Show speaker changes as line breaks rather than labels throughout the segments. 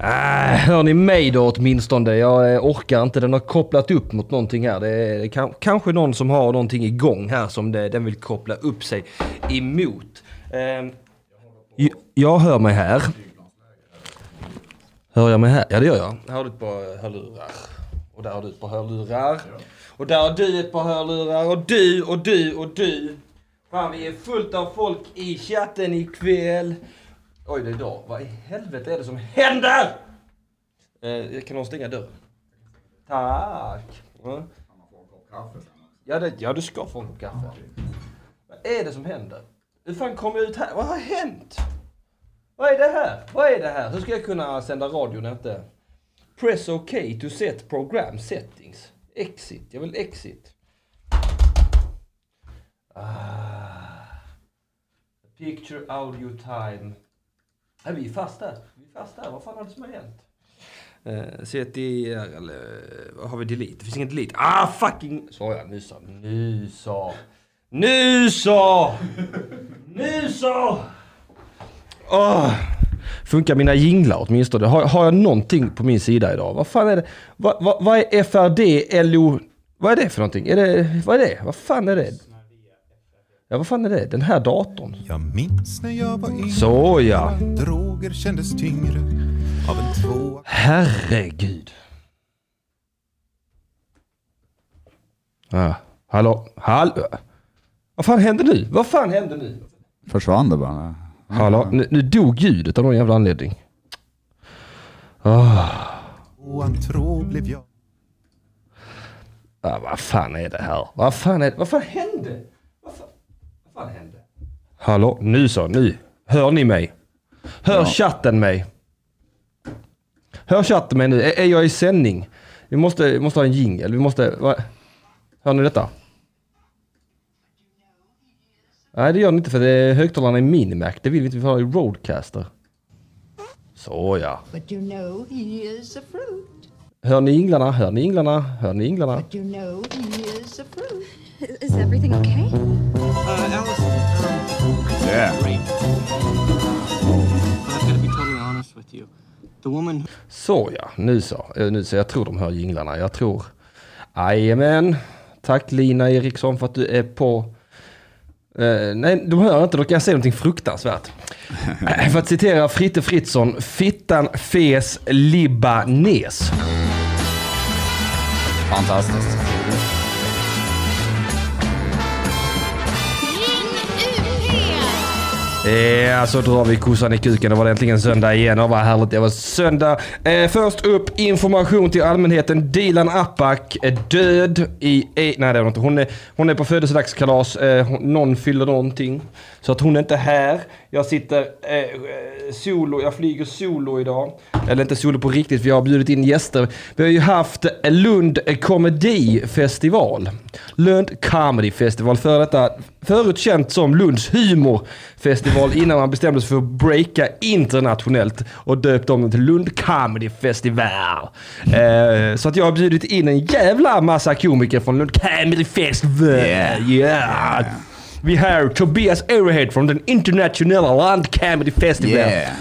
Äh, hör ni mig då åtminstone? Jag eh, orkar inte. Den har kopplat upp mot någonting här. Det är, det är kan, kanske någon som har någonting igång här som det, den vill koppla upp sig emot. Ehm, j- jag hör mig här. Hör jag mig här? Ja det gör jag. Här har du ett par hörlurar. Och där har du ett par hörlurar. Och där har du ett par hörlurar. Och du och du och du. Fan vi är fullt av folk i chatten ikväll. Oj, det är dag. Vad i helvete är det som händer? Eh, kan någon stänga dörren? Tack. Ja. Ja, det, ja, du ska få en kopp kaffe. Vad är det som händer? Hur fan kom jag ut här? Vad har hänt? Vad är det här? Vad är det här? Hur ska jag kunna sända radio när jag inte... Press OK to set program settings. Exit. Jag vill exit. Ah. Picture audio time. Nej, vi är fast där. Vi är fast där. Vad fan är det som har hänt? Uh, CTRL... eh, Vad har vi delete? Det finns inget delete. Ah fucking... Sa jag? Nu sa... Nu sa... Nu sa! Nu sa! Åh. Funkar mina jinglar åtminstone? Har, har jag någonting på min sida idag? Vad fan är det? Vad, vad, vad är FRD LO? Vad är det för någonting? Är det, vad är det? Vad fan är det? Ja, vad fan är det? Den här datorn.
Jag minns när jag var yngre.
Så ja.
Droger kändes tyngre. Av en tvåa.
Herregud. Ah, hallå? Hallå? Vad fan hände nu? Vad fan hände nu?
Försvann det bara?
Hallå? Nu, nu dog ljudet av någon jävla anledning. Ah,
Tvåan trå blev jag.
ah, vad fan är det här? Vad fan är det? Vad fan hände? Vad fan, vad fan hände? Hallå? Nu så, nu. Hör ni mig? Hör chatten mig? Hör chatten mig nu? Är, är jag i sändning? Vi måste, vi måste ha en jingel. Vi måste... Va? Hör ni detta? Nej, det gör ni inte för det är högtalarna i Minimac. Det vill vi inte. Vi får ha i Roadcaster. Så ja.
But you know he is a fruit.
Hör ni jinglarna? Hör ni jinglarna? Hör ni jinglarna?
You know he is a fruit.
Is everything okay?
Uh, Alice, um, I think
Yeah.
you're great. But I've got to be totally honest with you. The woman who
Så ja, nu så. Eh, Nu så. Jag tror de hör jinglarna. Jag tror... Jajamän. Tack Lina Eriksson för att du är på... Eh, nej, de hör inte. De kan säga någonting fruktansvärt. Eh, för att citera Fritte Fritzson. Fittan fes libanes.
Fantastiskt.
Ja, så Eh, alltså, drar vi kossan i kuken. Det var äntligen söndag igen. Och vad härligt det var söndag. Eh, först upp information till allmänheten. Dilan Apak är död i... i nej, det var inte. Hon är, hon är på födelsedagskalas. Eh, hon- någon fyller någonting. Så att hon är inte här. Jag sitter eh, eh, solo. Jag flyger solo idag. Eller inte solo på riktigt, för jag har bjudit in gäster. Vi har ju haft Lund Comedy Festival. Lund Comedy Festival, för detta förut känt som Lunds humorfestival innan man bestämde sig för att breaka internationellt och döpte om den till Lund Comedy Festival. Eh, så att jag har bjudit in en jävla massa komiker från Lund Comedy Festival.
Yeah.
Yeah. Vi har Tobias Örehed från den internationella Lund Comedy Festival.
Yeah.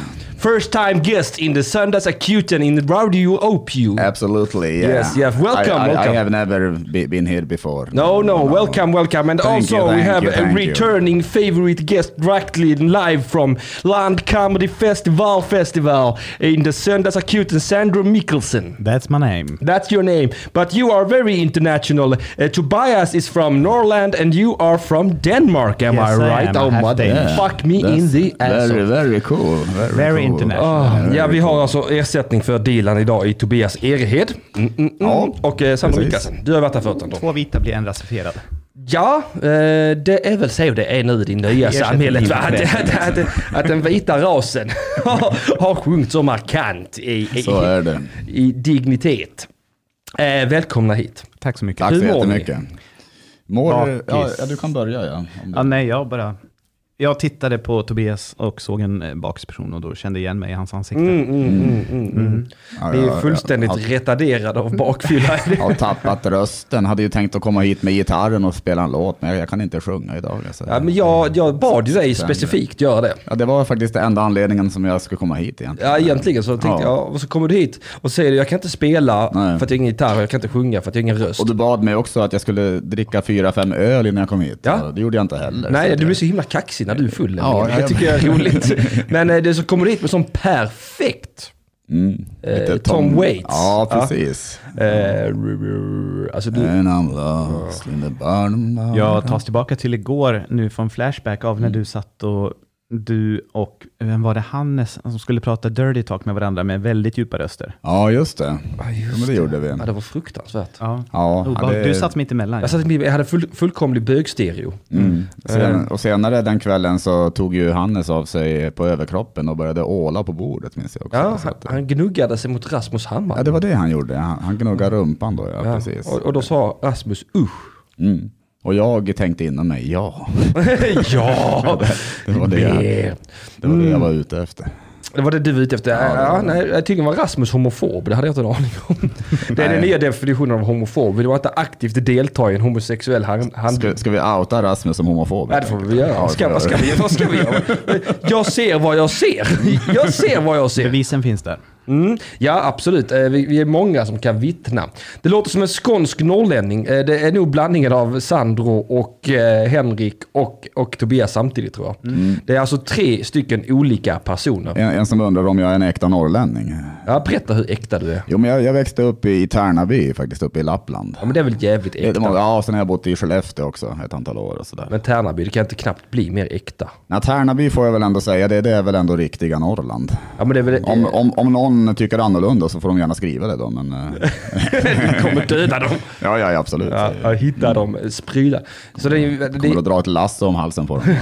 First time guest in the Sundays Acuten in Radio Opium.
Absolutely. Yeah.
Yes, yes. Welcome,
I, I,
welcome.
I have never be, been here before.
No, no, welcome, welcome. And
Thank
also,
you,
we
thank
have
you,
a
thank you.
returning favorite guest directly live from Land Comedy Festival Festival in the Sundays Acuten, Sandra Mikkelsen.
That's my name.
That's your name. But you are very international. Uh, Tobias is from Norland and you are from Denmark, am
Yes,
I
I
right?
am. I
oh,
have
mother.
Danish.
Fuck me in
That's
the ass.
Very, very cool. Very,
Very
cool.
international.
Ah,
Very
ja, vi
cool.
har alltså ersättning för Dilan idag i Tobias Erehed. Mm, mm, mm.
Ja,
och eh, Sandra
precis.
Mikkelsen. Du har varit här förut Anton.
Ah. Två vita blir en rasifierad.
Ja, eh, det är väl så det är nu i det nya
Ersätter
samhället. Va? Att,
livet
att, att, att den vita rasen har, har sjunkit så markant i, i,
Så är det.
i dignitet. Eh, välkomna hit.
Tack så mycket.
Tack så
Hur mår ni?
jättemycket. Mår, ja,
Bakis.
ja, du kan börja ja. Om du-
Ja, nej, jag bara jag tittade på Tobias och såg en eh, bakperson och då kände jag igen mig i hans ansikte.
Mm, mm, mm, mm, mm.
Ja,
Ni
ja,
är
ja.
fullständigt
Ja.
retarderade av bakfylla.
Jag har tappat rösten. Hade ju tänkt att komma hit med gitarren och spela en låt, men jag kan inte sjunga idag. Alltså.
Ja, men jag, jag bad ju dig specifikt göra det.
Ja, det var faktiskt den enda anledningen som jag skulle komma hit egentligen.
Ja, egentligen så tänkte
Ja.
jag, och så kommer du hit och säger du, jag kan inte spela
Nej.
för att jag har ingen gitarr, och jag kan inte sjunga för att jag har ingen röst.
Och du bad mig också att jag skulle dricka fyra, fem öl innan jag kom hit.
Ja.
Och Det gjorde jag inte heller.
Nej,
Så
du blir så himla kaxig när du är full.
Ja,
nämligen. det
ja,
tycker jag är roligt. Men eh, det så kommer du hit med sån perfekt eh,
Mm. Lite
Tom, Waits.
Ja, precis.
Ja. Eh, ru- ru- alltså du,
And I'm lost in the bottom of-
Jag tas tillbaka till igår nu från Flashback av när du satt och du och, vem var det, Hannes som skulle prata dirty talk med varandra med väldigt djupa röster?
Ja, just det.
Ja,
ja,
just
men det gjorde vi.
ja, det var fruktansvärt.
Ja.
Ja,
Obehag-
det-
Du satt mitt emellan.
Jag, satt, i- jag hade full, fullkomlig bögstereo.
Mm.
Eh.
Sen, och senare den kvällen så tog ju Hannes av sig på överkroppen och började åla på bordet minns jag också.
Ja,
Så
han,
att-
han gnuggade sig mot Rasmus Hammar.
ja det var det han gjorde. Han, han gnuggade rumpan då, ja,
Mm. Ja,
precis.
Och, och då sa Rasmus usch.
Mm. och jag tänkte inom mig, ja.
ja,
Det var det, jag-
det.
det, var det jag var ute efter.
Det var det du var ute efter? Ja,
Ja, det var det.
nej, jag tycker var Rasmus homofob, det hade jag inte en aning om. Det är den
Nej.
nya definitionen av homofob, det var inte aktivt delta i en homosexuell hand... hand-
Ska, ska vi outa Rasmus som homofob?
Nej, det får vi väl göra.
Ja,
Ska, vad, ska
det-
vi, vad ska vi göra? Jag ser vad jag ser. Jag ser vad jag ser.
Bevisen finns där.
Mm, ja, absolut. Eh, Vi, vi är många som kan vittna. Det låter som en skånsk norrlänning. Eh, Det är nog blandningen av Sandro och eh, Henrik och, och Tobias samtidigt tror jag. Det är alltså tre stycken olika personer.
En, en som undrar om jag är en äkta norrlänning.
Ja, berätta hur äkta du är.
Jo, men jag, jag växte upp i Tärnaby faktiskt, uppe i Lappland.
Ja, men det är väl jävligt äkta.
Ja, sen har jag bott i Skellefteå också ett antal år och sådär.
Men Tärnaby, det kan inte knappt bli mer äkta.
Nej, Tärnaby får jag väl ändå säga, det, det är väl ändå riktiga Norrland.
Ja men det är väl...
Om, om, om någon tycker annorlunda så får de gärna skriva det då. Men, eh,
Du kommer döda dem.
ja, ja, ja, absolut.
Ja,
Jag
ja, hitta dem, sprida. Så det är ju... Det
kommer att
är,
dra ett lasso om halsen på dem.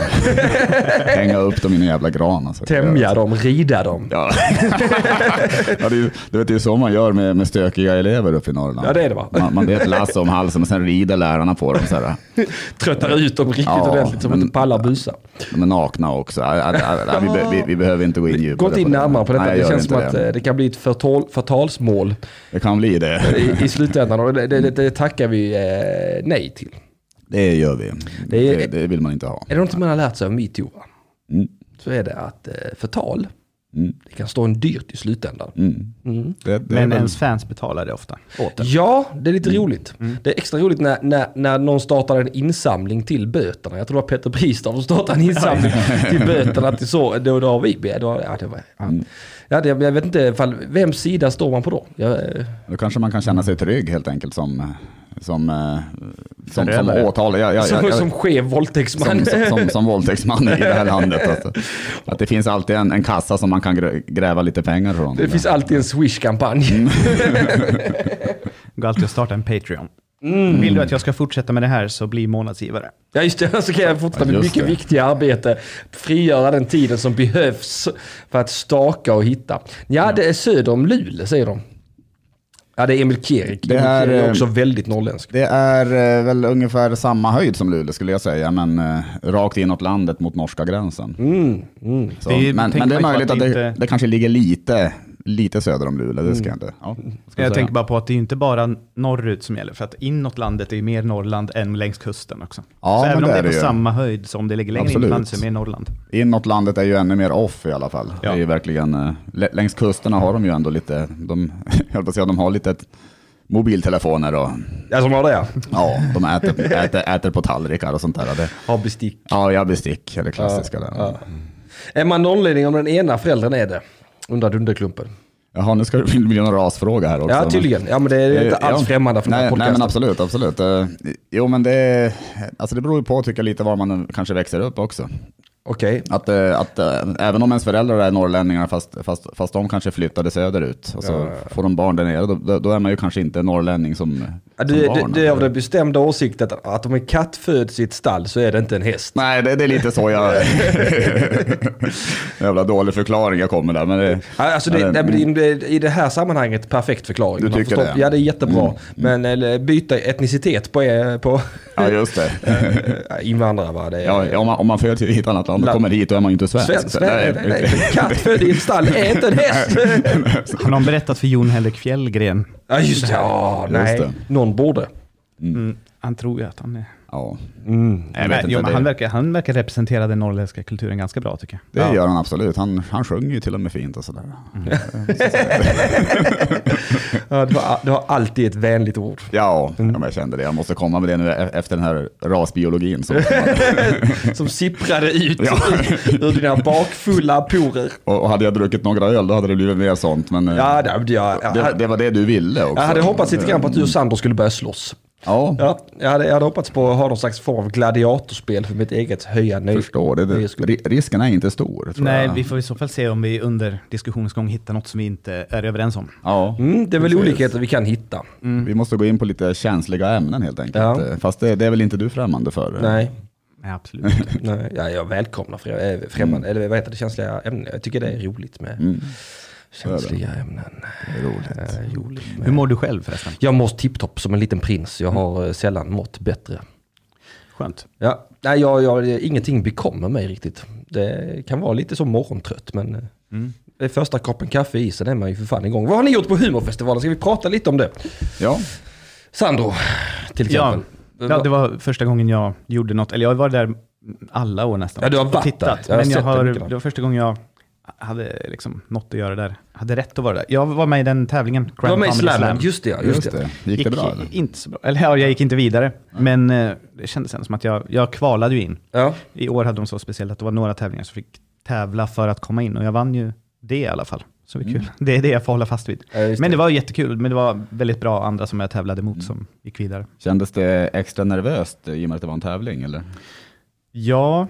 Hänga upp dem i en jävla gran. Alltså.
tämja dem, rida dem.
Ja. ja, det, är ju- du vet, det är ju så man gör med, med stökiga elever uppe i Norrland.
Ja, det är det, va?
Man, man vet lasso om halsen och sen rider lärarna på dem. Så här.
Tröttar ut dem riktigt
Ja, Mm.
ordentligt så de inte
men-
pallar busa.
De är nakna också. Ja, ja, ja, ja, vi, be- vi, vi behöver inte gå in djupare
Gå inte in
på det.
närmare på detta,
Nej, jag
det
gör
känns
inte
som att eh, det kan bli ett förtal, förtalsmål
Det kan bli det.
i, i slutändan och det, det, det tackar vi eh, nej till.
Det gör vi.
Det är-
Det, det vill man inte ha.
Är det något man har lärt sig av metoo? va?
Mm.
Så är det att eh, förtal,
Mm.
det kan stå en dyrt i slutändan.
Mm. Det, det är
Men
väl-
ens fans betalar det ofta. Åt det.
Ja, det är lite roligt. Det är extra roligt när, när, när någon startar en insamling till böterna. Jag tror det var Peter Bristav som startade en insamling till böterna. Till så, då, då har vi... Då, ja, det var, ja. Ja, det, jag vet inte ifall, vems sida står man på då? Jag, eh,
Då kanske man kan känna sig trygg helt enkelt som, som, eh, som, som
Förövare.
åtal. Ja, ja, ja,
som,
ja.
som skev våldtäktsman.
som, som, som, som våldtäktsman i det här landet. Alltså. Att det finns alltid en, en kassa som man kan grä- gräva lite pengar från.
det finns alltid en Swish-kampanj.
Går alltid att starta en Patreon. Vill du att jag ska fortsätta med det här så bli månadsgivare.
Ja just det, så kan jag fortsätta
Ja,
med
just
mycket
det.
viktiga arbete. Frigöra den tiden som behövs för att staka och hitta. Ja,
Mm.
det är söder om Luleå säger de. Ja, det är Emil Kierik.
Det
Det är,
är,
är
eh,
också väldigt norrländsk.
Det är eh, väl ungefär samma höjd som Luleå skulle jag säga, men eh, rakt inåt landet mot norska gränsen. Så,
Mm, Det är ju-
men,
tänker
men det är
man ju på
möjligt
att
att
det
det,
inte- Mm.
det kanske ligger lite, lite söder om Luleå, det ska jag inte... Ja, vad ska
Jag
säga?
tänker bara på att det är inte bara norrut som gäller, för att inåt landet är ju mer Norrland än längs kusten också.
Ja,
så
men
även om
det
det är
är
på
det ju.
samma höjd som det ligger längre in
Absolut.
på landet så är det mer Norrland.
Inåt landet är ju ännu mer off i alla fall.
Ja.
Det är ju verkligen, eh, lä- längs kusterna har de ju ändå lite, de, jag höll på att säga, de har lite ett- mobiltelefoner och
Ja, som har det ja.
ja, de äter, äter, äter på tallrikar och sånt där. Det,
Har bestick.
ja, jag bestick, det klassiska där.
Är man norrlänning om den ena föräldern är det? Undrar Dunderklumpen.
Jaha, nu ska det bli bli någon rasfråga här också.
Ja,
men-
tydligen. Ja, men det är inte
Eh,
alls
ja.
främmande för den här
nej, nej,
podcasten.
men absolut, absolut. Eh, Jo, men det, alltså det beror ju på tycker jag lite var man kanske växer upp också.
Okej.
Att, eh, att eh, även om ens föräldrar är norrlänningar, fast, fast, fast de kanske flyttade söderut, och så får de barn där nere, då- då, då är man ju kanske inte norrlänning som,
Ja,
som
du, du,
barn.
du är av den bestämda åsikten att, att om en katt föds i ett stall så är det inte en häst.
Nej, det, det är lite så jag... Jävla dålig förklaring jag kommer där, men det,
Ja, Alltså det,
Ja,
nej,
det-
men det, är- I det här sammanhanget perfekt förklaring.
Du
Man
tycker Mm,
förstår-
det?
Ja, det är jättenbra. Men eller, byta etnicitet på, eh, på
Ja, just det.
Eh, Invandrare va? Det är,
Ja, om, man, om man föds i ett annat land och
Land.
kommer hit, då är man ju inte svensk.
Svensk?
Så-
Nej, nej, nej. En Katt född i ett stall är inte en häst!
Har någon berättat för Jon Henrik Fjällgren?
Ja just det, ja, nej.
det.
Någon borde.
Han tror ju att han är...
Ja,
Jag
vet inte,
jo, men
det-
han, verkar, han verkar representera den norrländska kulturen ganska bra tycker jag.
det gör han absolut. Han, han sjunger ju till och med fint och sådär.
Mm. Ja, du, har, du har alltid ett vänligt ord.
Ja, ja, men jag kände det. Jag måste komma med det nu e- efter den här rasbiologin. Som,
Som sipprade ut
Ja.
ur dina bakfulla porer.
och och hade jag druckit några öl, då hade det blivit mer sånt. Men eh,
Ja, det, jag,
det,
jag,
det var det du ville också.
jag hade hoppats lite grann på att du och Sandro skulle börja slåss.
Ja,
Ja, jag hade, jag hade hoppats på att ha någon slags form av gladiatorspel för mitt eget höja nöje.
förstår. Det, det,
nöjes skull.
ri- risken är inte stor, tror
Nej,
jag.
vi får i så fall se om vi under diskussionsgång hittar något som vi inte är överens om.
Ja,
Mm, det är väl
precis. Mm.
olikheter vi kan hitta.
Vi måste gå in på lite känsliga ämnen helt enkelt.
Mm. Ja.
Eh, Fast det, det är väl inte du främmande för?
Nej,
Nej, absolut inte.
nej. Ja, jag välkomnar fr- eh, främmande,
Mm.
eller vad heter det, känsliga ämnen. Jag tycker det är roligt med känsliga ämnen.
Roligt.
Eh, roligt
Hur
med.
mår du själv förresten?
Jag mår tipptopp som en liten prins.
Mm.
Jag har eh, sällan mått bättre.
Skönt.
Ja, nej, jag, jag, ingenting bekommer mig riktigt. Det kan vara lite så morgontrött men eh,
Mm.
det första koppen kaffe i sen är man ju för fan igång. Vad har ni gjort på humorfestivalen? Ska vi prata lite om det?
Ja,
Sandro, till
Ja,
exempel.
ja, det var första gången jag gjorde något, eller jag var där alla år nästan.
Ja, du har
och
varit där.
tittat.
Jag har
men jag
sett det
har,
mycket, va?
det var första gången jag hade liksom något att göra där. Hade rätt att vara där. Jag var med i den tävlingen,
Du var
Grand
med i
Comedy
slammen,
Slam.
just det. ja, Just
just
det.
det. Gick det bra? eller?
Inte så bra. Eller ja, jag gick inte vidare. Men eh, det kändes ändå som att jag, jag kvalade ju in.
Ja.
I år hade de så speciellt att det var några tävlingar som fick tävla för att komma in och jag vann ju det i alla fall. Så det är kul. Det är det jag får hålla fast vid.
Mm. Ja, just
men
det. Mm.
det var jättekul, men det var väldigt bra andra som jag tävlade mot som gick vidare.
Kändes det extra nervöst i och med att det var en tävling? Eller?
Ja,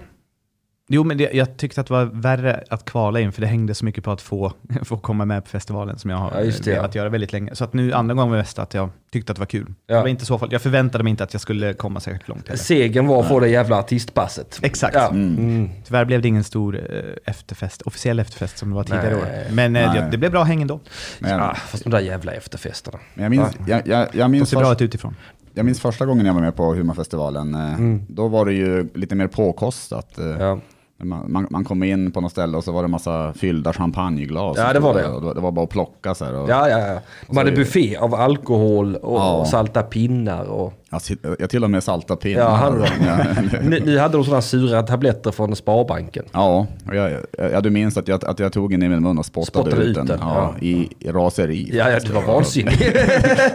jo men det, jag tyckte att det var värre att kvala in för det hängde så mycket på att få, få komma med på festivalen som jag har
Ja, just det,
eh, velat göra väldigt länge. Så att nu andra gången var det mest att jag tyckte att det var kul.
Ja.
Det var inte så farligt. Jag förväntade mig inte att jag skulle komma särskilt långt. heller.
Segen var att få det jävla artistpasset.
Exakt.
Ja. Mm.
Tyvärr blev det ingen stor eh, efterfest, officiell efterfest som det var tidigare
Nej.
år. Men eh,
Nej.
det, det blev bra häng ändå.
Men,
Ah, fast de där jävla efterfesterna.
men jag, minns, jag, jag, jag,
Det
minns
ser bra
först,
ut utifrån.
jag minns första gången jag var med på Humorfestivalen. eh, Då var det ju lite mer påkostat. eh,
Mm. Ja.
Man, man, man kom in på något ställe och så var det massa fyllda champagneglas.
Ja, det var det.
Och Det var bara att plocka så här. Och,
Ja, ja, ja. De hade
är det-
buffé av alkohol och
Ja.
salta pinnar och...
Jag, sit- jag till och med saltat pinnar.
Ja, hade de.
Ja.
Ni, ni hade de sådana sura tabletter från Sparbanken.
Ja, och jag, jag, du minns att jag, att jag tog den i min mun och spottade,
Spottade
ut den. Ja, I, I raseri.
Ja, ja, du var vansinnig.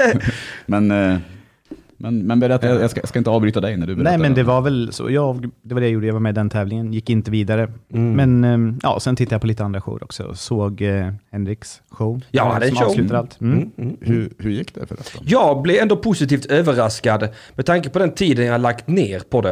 Men, eh, men, men berätta, jag jag ska, jag ska inte avbryta dig när du berättar.
Nej, men det
den.
var väl så. Jag, det var det jag gjorde. Jag var med i den tävlingen, gick inte vidare.
Mm.
Men eh, ja, sen tittade jag på lite andra shower också och såg eh, Henriks show.
Ja,
eh,
han hade
som
en show.
avslutar allt. Mm.
hur, hur gick det förresten?
Jag blev ändå positivt överraskad med tanke på den tiden jag lagt ner på det.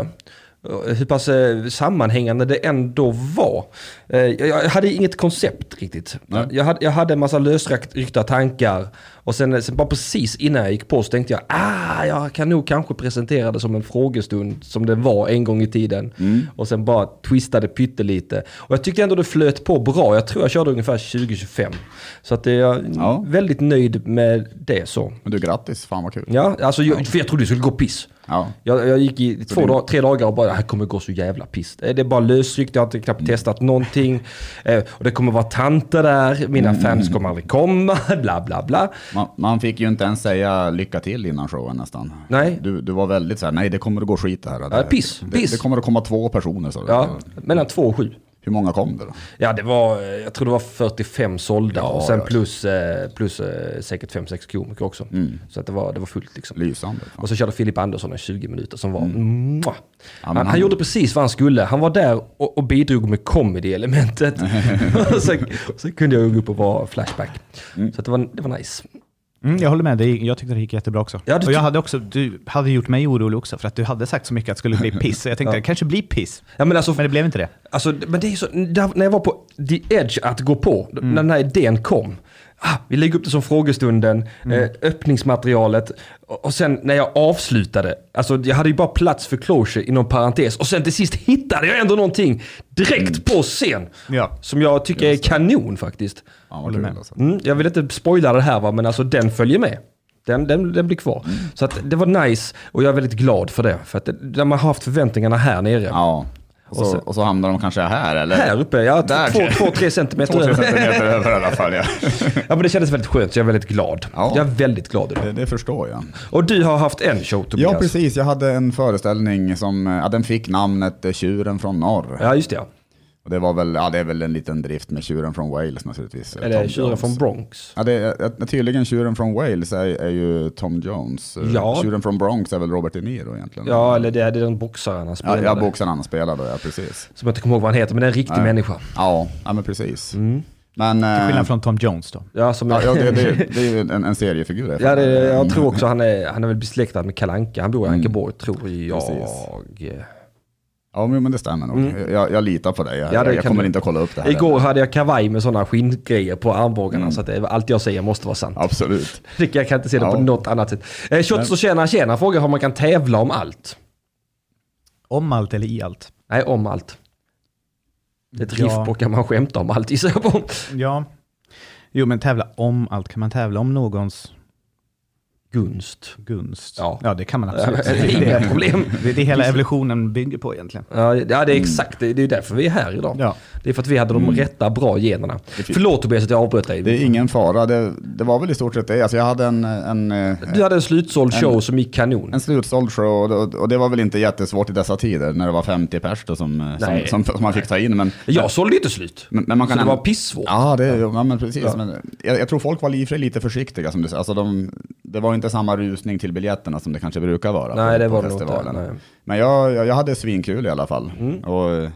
Eh, Hur pass eh, sammanhängande det ändå var. Eh, jag- Jag hade inget koncept riktigt.
Nej.
Jag hade, jag hade en massa lösryckta tankar. Och sen, sen bara precis innan jag gick på så tänkte jag ah, jag kan nog kanske presentera det som en frågestund som det var en gång i tiden.
Mm.
Och sen bara twistade pyttelite. Och jag tyckte ändå det flöt på bra. Jag tror jag körde ungefär 20-25. Så att eh, jag är
Ja.
väldigt nöjd med det så.
Men du, grattis, fan vad kul.
Ja, alltså jag, för jag trodde det skulle gå piss.
Ja.
Jag, jag gick i två
det-
dagar, tre dagar och bara, det här kommer gå så jävla piss. Eh, Det är bara lösryckt, jag har inte
Mm.
knappt testat någonting. Eh, och det kommer vara tanter där, mina
Mm.
fans kommer aldrig komma, bla bla bla.
Man, man fick ju inte ens säga lycka till innan showen nästan.
Nej.
Du, du var väldigt så här, nej det kommer att gå skit det här.
Ja, piss,
det,
piss.
Det kommer att komma två personer sa du.
Ja, mellan två och sju.
Hur många kom det då?
Ja, det var, eh, jag tror det var 45 sålda och sen
ja.
plus, eh, plus eh, säkert 5-6 komiker också.
Mm.
Så att det, var, det var fullt liksom.
Lysande. fan.
Och så körde Filip Andersson en 20 minuter som var... Mwah. Han,
men
han,
han-
gjorde precis vad han skulle. Han var där och, och bidrog med comedy-elementet. och sen, och sen kunde jag gå upp och vara flashback. Så att det, var, det var nice.
Mm, jag håller med dig. Jag tyckte det gick jättebra också.
Ja, du
och
ty-
jag hade också, du hade gjort mig orolig också för att du hade sagt så mycket att det skulle bli piss. Så jag tänkte, det kanske blir piss.
Ja, men alltså,
Men det blev inte det.
Alltså, men det är ju så, där, när jag var på the edge att gå på, när den här idén kom. Ah, vi lägger upp det som frågestunden, eh, öppningsmaterialet och, och sen när jag avslutade, alltså jag hade ju bara plats för closure inom parentes och sen till sist hittade jag ändå någonting direkt på scen.
Ja.
Som jag tycker är kanon faktiskt.
Fan, vad
Håller
kul
med.
alltså.
Mm, jag vill inte spoila det här va, men alltså den följer med. Den, den, den blir kvar. Så att det var nice och jag är väldigt glad för det. För att det, de har haft förväntningarna här nere.
Ja. Och så, och så hamnar de kanske här eller?
Här uppe, ja,
Där,
två,
okej.
två, tre centimeter
Två, tre
över.
centimeter över i alla fall ja.
Ja, men det kändes väldigt skönt, så jag är väldigt glad.
Ja.
Jag är väldigt glad idag.
det, det förstår jag.
Och du har haft en show, Tobias.
Ja, precis. Jag hade en föreställning som, eh, ja, den fick namnet eh, Tjuren från norr.
Ja, just det. ja.
Och det var väl, ja det är väl en liten drift med Tjuren från Wales naturligtvis.
Eller
Tom
tjuren
Jones.
från Bronx.
Ja, det är, tydligen Tjuren från Wales är, är ju Tom Jones.
Ja.
Tjuren från Bronx är väl Robert De Niro egentligen?
Ja, eller det är den boxaren han
Ja,
spelade.
ja boxaren han spelar då, ja precis.
Som jag inte kommer ihåg vad han heter, men det är en riktig
Nej.
människa.
Ja, ja men precis.
Mm.
Men...
Till
eh,
skillnad från Tom Jones då.
Ja, som
Ja, ja det, det, det är ju en, en seriefigur. Mm.
Ja, det, jag tror också han är, han är väl besläktad med Kalanka. Han bor i Ankeborg, tror jag. Eh,
Ja, men men det stämmer nog. Jag, jag litar på dig. Jag,
Mm. Ja, det
jag
kan
kommer
du.
inte att kolla upp det Mm. här.
Igår hade jag kavaj med sådana skinngrejer på armbågarna, så att det, allt jag säger måste vara sant.
Absolut.
Det- Jag kan inte se det på
Ja.
något annat sätt. Eh, Shots och tjena tjena frågar om man kan tävla om allt.
Om allt eller i allt.
Nej, om allt. Det är ett
Ja.
riff på kan man skämta om allt gissar jag på.
Ja. Jo, men tävla om allt. Kan man tävla om någons
Gunst.
gunst?
Ja.
det kan man absolut.
Det är
det,
inga problem.
det är det hela evolutionen bygger på egentligen.
Ja, ja, det är exakt. Det det är därför vi är här idag.
Ja.
Det är för att vi hade
Mm.
de rätta, bra generna. Förlåt Tobias att jag avbröt dig.
Det är ingen fara. Det, det var väl i stort sett det. Alltså, jag hade en, en, eh,
Du hade en slutsåld show som gick kanon.
en slutsåld show och det, och det var väl inte jättesvårt i dessa tider när det var 50 pers då, som, eh,
Nej.
som, som, som man fick ta in. Men,
Jag sålde ju inte slut.
men, men man
så
kan
det var pissvårt.
Ja, det, ja men precis. Men jag, jag tror folk var i och för sig lite försiktiga som du säger. Alltså de, det var inte samma rusning till biljetterna som det kanske brukar vara
Nej,
på,
det
på
var det nog inte,
festivalen.
nej. Mm.
Men jag, jag, jag hade svinkul i alla fall. Och, eh,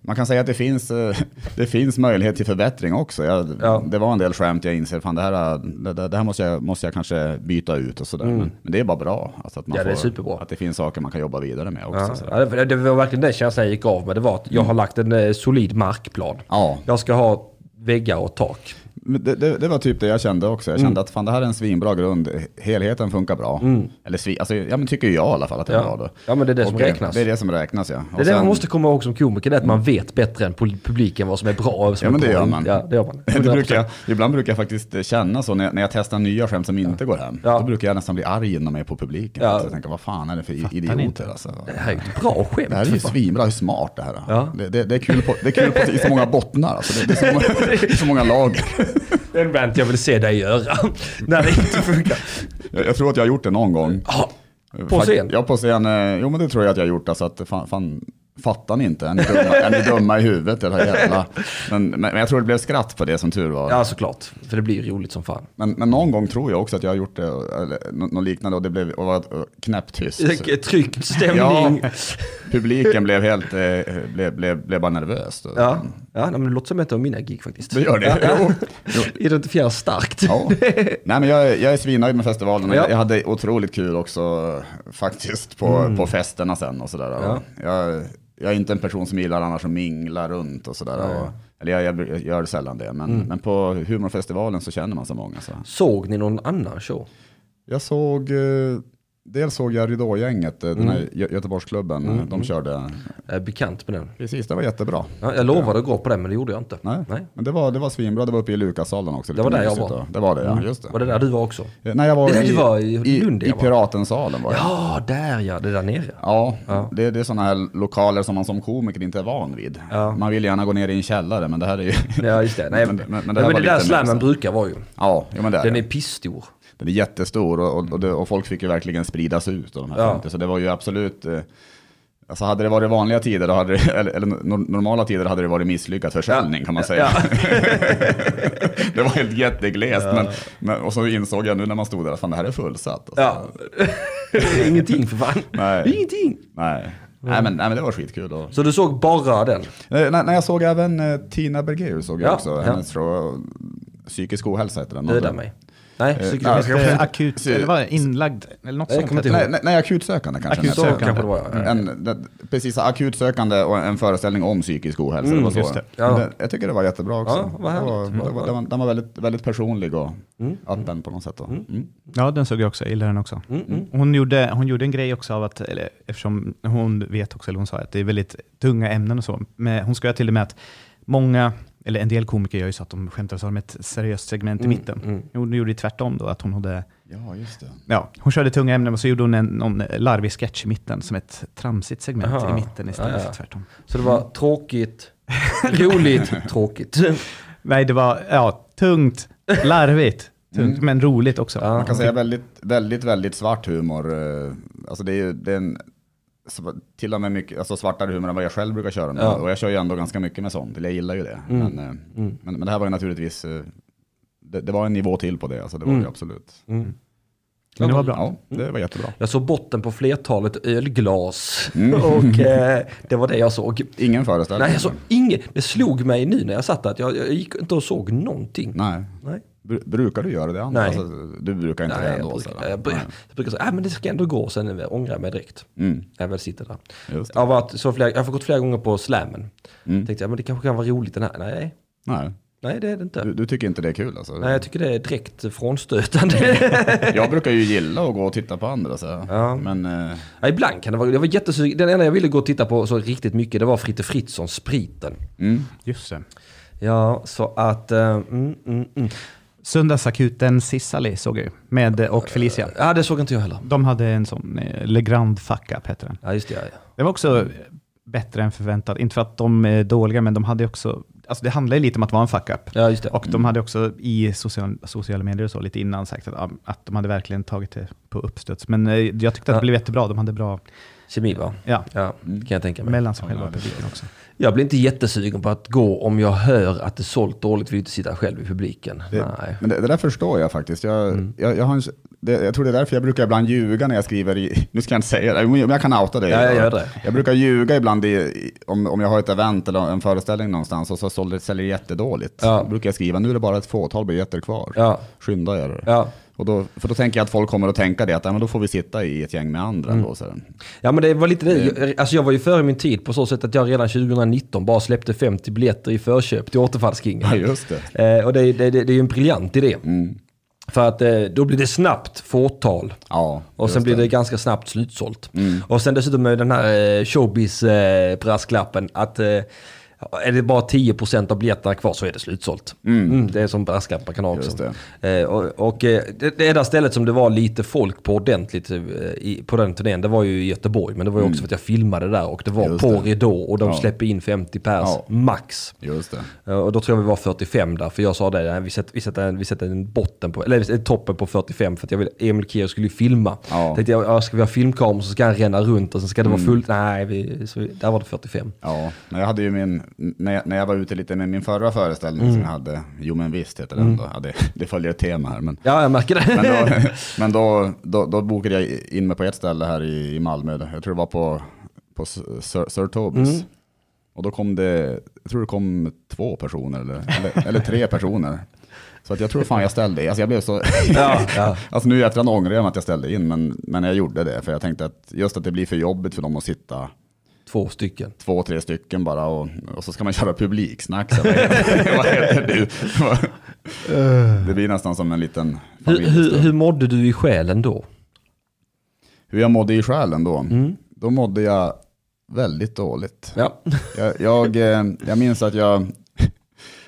man kan säga att det finns, eh, det finns möjlighet till förbättring också. Jag,
Ja.
Det var en del skämt jag inser, fan det här, det, det det här måste, jag, måste jag kanske byta ut och sådär. Men, men det är bara bra. Alltså att, man
Mm. Ja, det är
får,
superbra.
att det finns saker man kan jobba vidare med också.
Ja,
Så.
ja, det, det var verkligen den känslan jag gick av med. Det var att jag har lagt en eh, solid markplan.
Mm. Ja,
Jag ska ha väggar och tak.
Men Det, det, det var typ det jag kände också. Jag kände
Mm.
att fan, det här är en svinbra grund. Helheten funkar bra. Eller svi, alltså, ja, men tycker jag i alla fall att det är
Ja.
bra. Då.
Ja, men det är det som
Och eh,
räknas.
Det är det som räknas ja.
Det är det man måste komma ihåg som komiker, det är att man vet bättre än pol- publiken vad som är bra och vad som
Ja, men
är
det
bra.
gör man.
Ja, det gör man.
det brukar jag, ibland brukar jag faktiskt eh, känna så när jag, när jag testar nya skämt som inte går hem.
Ja.
Då brukar jag nästan bli arg inom mig på publiken.
Ja.
Alltså, jag tänker, vad fan är det för i-
inte.
idioter? Alltså.
Det här är ju ett bra skämt.
Det här är ju
för fan.
svinbra, hur smart det här är.
Ja.
Det, det, det är kul på, det är kul på i så många bottnar. Alltså. Det, det, är så många, det är så många lager.
Det är en rant jag vill se dig göra. När det inte funkar.
Jag, jag tror att jag har gjort det någon gång.
Ja, På scen?
Ja, på scen. eh, Jo, men det tror jag att jag har gjort. Alltså, att fan, fan, fattar ni inte? Är ni dumma, är ni dumma i huvudet? Eller jävla? Men, men, men jag tror det blev skratt på det som tur var.
ja, såklart. För det blir ju roligt som fan.
Men, men någon gång tror jag också att jag har gjort det, eller, nå- något liknande, och det blev och var eh, knäpptyst. Så
Tryckt stämning. Ja,
Publiken blev helt, eh, blev, blev, blev bara nervös. då.
ja. nej, men det låter som ett av mina gig faktiskt.
Det gör det.
Ja.
Jo. Jo.
Identifierar starkt.
Ja. Nej, men jag, jag är svinnöjd med festivalen.
Ja.
Jag hade otroligt kul också eh, faktiskt på, på festerna sen och sådär.
Ja.
Jag, jag är inte en person som gillar annars att mingla runt och sådär.
Nej.
Och, eller jag, jag, jag gör sällan det, men, men på humorfestivalen så känner man så många. Så.
Såg ni någon annan show?
Jag såg, eh, dels såg jag Ridågänget, eh, den här Gö- Göteborgsklubben, eh, de körde.
Jag är Eh, bekant med den.
Precis, det var jättebra.
Ja, jag lovade att gå på den, men det gjorde jag inte.
Nej. Men det var, det var svinbra, det var uppe i Lukassalen också.
Det var
lite
där jag
mysigt
var.
då. Det var det, ja. Just det.
Var det där du var också?
Eh, Nej, jag var,
Det där
i,
du var i
i,
Lund,
i,
jag var.
Piratensalen var jag.
Ja, där ja. Det där nere.
Ja,
Ja.
Det, det är sådana här lokaler som man som komiker inte är van vid.
Ja.
Man vill gärna gå ner i en källare, men det här är ju...
Ja, just det. Nej, men,
Men-
men,
men- men det
det,
här var
där
lite mer
slammen
så.
brukar vara ju.
Ja, ja men det är
Den
den.
är pissstor.
den är jättestor och, och, och, det, och folk fick ju verkligen spridas ut. Och de här
Ja.
50, så det var ju absolut... eh, Alltså hade det varit vanliga tider, då hade det, eller, eller nor- normala tider, hade det varit misslyckad försäljning kan man säga.
Ja.
det var helt jätteglest. Men, men, och så insåg jag nu när man stod där att fan, det här är fullsatt. Alltså.
Ja. Det är Ingenting för fan.
Nej.
Det är Ingenting.
Nej. Nej,
Mm.
men, nej, men det var skitkul. Och,
Så du såg bara den?
Eh, När, när jag såg även eh, Tina Berger såg jag
Ja,
också.
ja.
Hennes show, Psykisk ohälsa heter den.
Döda mig. Nej,
nej,
psykisk
jag
Eh,
ska-
Akut, eller vad, är det? inlagd, eller något
Jag
sånt.
kommer inte
heter
ihåg.
Nej, nej, nej, akutsökande kanske. Mm. den heter.
Akutsökande Mm. kanske det var, ja.
En, den- precis, akutsökande och en föreställning om psykisk ohälsa. det var så.
Mm, just det.
Ja.
Den- jag tycker det var jättebra också.
Ja, vad
det
härligt.
var, det var, den var, den var väldigt, väldigt personlig och öppen på något sätt. Då. Mm.
Ja, den såg jag också. Jag gillar den också.
Mm,
Hon, gjorde, hon gjorde en grej också av att, eller, eftersom hon vet också, eller hon sa att det är väldigt tunga ämnen och så. Men hon skojar till och med att många,
Mm,
eller en del komiker gör ju så att de skämtar och så har de ett seriöst segment i mitten. Hon gjorde ju tvärtom då, att hon hade
Ja, just det.
Ja, hon körde tunga ämnen och så gjorde hon en, någon larvig sketch i mitten som ett tramsigt segment
Aha.
i mitten istället
Ja, ja.
för tvärtom.
Så det var tråkigt, roligt, tråkigt.
Nej, det var ja, tungt, larvigt, tungt, men roligt också.
Mm. Ja.
Man kan säga väldigt, väldigt, väldigt svart humor. eh, Alltså det är ju det är en, sv- till och med mycket, alltså svartare humor än vad jag själv brukar köra med.
Ja. Mm.
Och jag kör ju ändå ganska mycket med sånt, eller jag gillar ju det. Men, eh, men, men det här var ju naturligtvis, eh, det, det var en nivå till på det, alltså det var det
Mm.
ju absolut.
Men det var bra.
Ja, det var jättebra.
Jag såg botten på flertalet ölglas
Mm.
och eh, det var det jag såg.
Ingen föreställning.
Nej, jag såg inget. Det slog mig nu när jag satt där att jag, jag gick inte och såg någonting.
Nej.
Nej.
Bru- Brukar du göra det annars?
Nej.
Alltså, du brukar inte det
Nej, jag,
ändå?
brukar,
sådär.
jag, brukar, jag brukar säga, "Ah, men det ska ändå gå, sen ångrar jag mig direkt.
Mm.
När jag väl sitter där.
Just det.
Jag har, varit så flera, jag har gått flera gånger på slammen. Tänkte jag, men det kanske kan vara roligt den här. Nej,
Nej.
nej det är det inte.
Du, du tycker inte det är kul alltså?
Nej, jag tycker det är direkt frånstötande.
Jag brukar ju gilla att gå och titta på andra så.
Ja.
Men eh,
Ja, ibland kan det vara, jag var jättesugen, den enda jag ville gå och titta på så riktigt mycket det var Fritte Fritzson, spriten.
Just det.
Ja, så att, eh, mm, mm, mm.
Söndagsakuten Sissali såg jag ju, med eh, och Felicia.
ja det såg inte jag heller.
De hade en sån eh, Le Grand Fuck Up, heter den.
Ja just det, ja, ja.
Det var också eh, bättre än förväntat. Inte för att de är dåliga, men de hade också... Alltså det handlade ju lite om att vara en fuck up.
ja just det. Mm.
Och de hade också i social, sociala medier och så lite innan sagt att, ja, att de hade verkligen tagit det på uppstuds. Men eh, jag tyckte att
Ja.
det blev jättebra. De hade bra
Kemi va?
ja,
Ja, det kan jag tänka mig.
mellan sig själva och publiken också.
Jag blir inte jättesugen på att gå om jag hör att det sålt dåligt, vill inte sitta själv i publiken.
Det,
Nej. Mm.
Men det, det där förstår jag faktiskt. Jag, jag, jag, har en, det, jag tror det är därför jag brukar ibland ljuga när jag skriver i, nu ska jag inte säga det, men jag kan outa det.
Ja, jag gör det.
Jag brukar ljuga ibland i, i- om, om jag har ett event eller en föreställning någonstans och så sålde, säljer det jättedåligt.
Ja.
Då brukar jag skriva, nu är det bara ett fåtal biljetter kvar.
Ja.
Skynda er.
Ja.
Och då, för då tänker jag att folk kommer att tänka det, att ja, men då får vi sitta i ett gäng med andra.
Mm.
Då, så här.
Ja men det var lite det. Jag- Alltså jag var ju före min tid på så sätt att jag redan 2019 bara släppte 50 biljetter i förköp till Återfallskingen.
Ja, just det. Mm.
Eh, och det, det, det, det är ju en briljant idé. För att eh, då blir det snabbt fåtal.
Ja,
Och sen
just Mm.
blir det ganska snabbt slutsålt. Och sen dessutom med den här eh, showbiz-brasklappen att eh, är det bara 10% av biljetterna kvar så är det slutsålt. Mm, det är som brasklapp man kan ha
Just
också. Eh, och och eh, det, det enda stället som det var lite folk på ordentligt eh, i, på den turnén det var ju i Göteborg. Men det var ju också för att jag filmade där och det var
Mm. Just
på
det.
ridå och de
Ja.
släpper in 50 pers
Ja.
max.
Just det.
Eh, Och då tror jag vi var 45 där, för jag sa det, nej, vi sätter, vi sätter, en, vi sätter en botten på, eller en toppen på 45 för att jag vill, Emil Kiev skulle ju filma.
Ja. Mm.
Tänkte jag, ja, ska vi ha filmkameror så ska han ränna runt och sen ska det vara fullt, nej, vi, så, vi- där var det 45.
Ja, när jag hade ju min, när jag, när jag var ute lite med min förra föreställning som jag hade, Jo men visst heter den då, ja, det, det följer ett tema här. Men,
Ja, jag märker det.
men, då, men då, då, då bokade jag in mig på ett ställe här i, i Malmö, jag tror det var på, på Sir, Sir Tobis. Och då kom det, jag tror det kom två personer eller, eller, eller tre personer. Så att jag tror fan jag ställde in, alltså jag blev så...
ja, ja.
Alltså nu i efterhand ångrar jag mig att jag ställde in, men, men jag gjorde det. För jag tänkte att just att det blir för jobbigt för dem att sitta
Två stycken.
två, tre stycken bara och, och så ska man köra publiksnack. Så vad heter vad heter det? det blir nästan som en liten
Hur, hur,
familjestund.
hur mådde du i själen då?
Hur jag mådde i själen då?
Mm.
Då mådde jag väldigt dåligt.
Ja,
Jag, jag, eh, jag minns att, jag,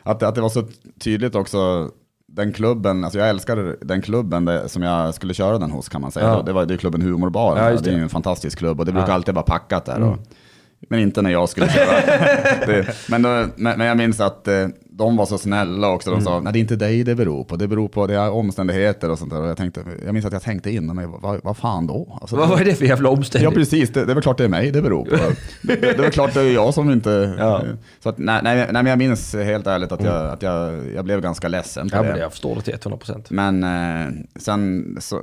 att, det- att det var så tydligt också, den klubben, alltså jag älskade den klubben där, som jag skulle köra den hos kan man säga.
Ja.
Det var det är klubben Humorbar,
Ja, just
det.
det.
är
Mm.
ju en fantastisk klubb och det brukar alltid vara packat där. Och, men inte när jag skulle köra. det, men, då- men, men jag minns att eh, de var så snälla också, de
Mm.
sa nej det är inte dig det beror på, det beror på det är omständigheter och sånt där. Och jag, tänkte, jag minns att jag tänkte inom mig, vad, vad fan då? Alltså,
vad var det för jävla
Ja
omställning?
precis, det, det är väl klart det är mig det beror på. Det, det är väl klart det är jag som inte...
Ja. Mm.
Så att, nej, nej, nej, men jag minns helt ärligt att jag, att jag, jag blev ganska ledsen på
ja, men
det.
jag förstår det till 100%.
Men eh, sen, så,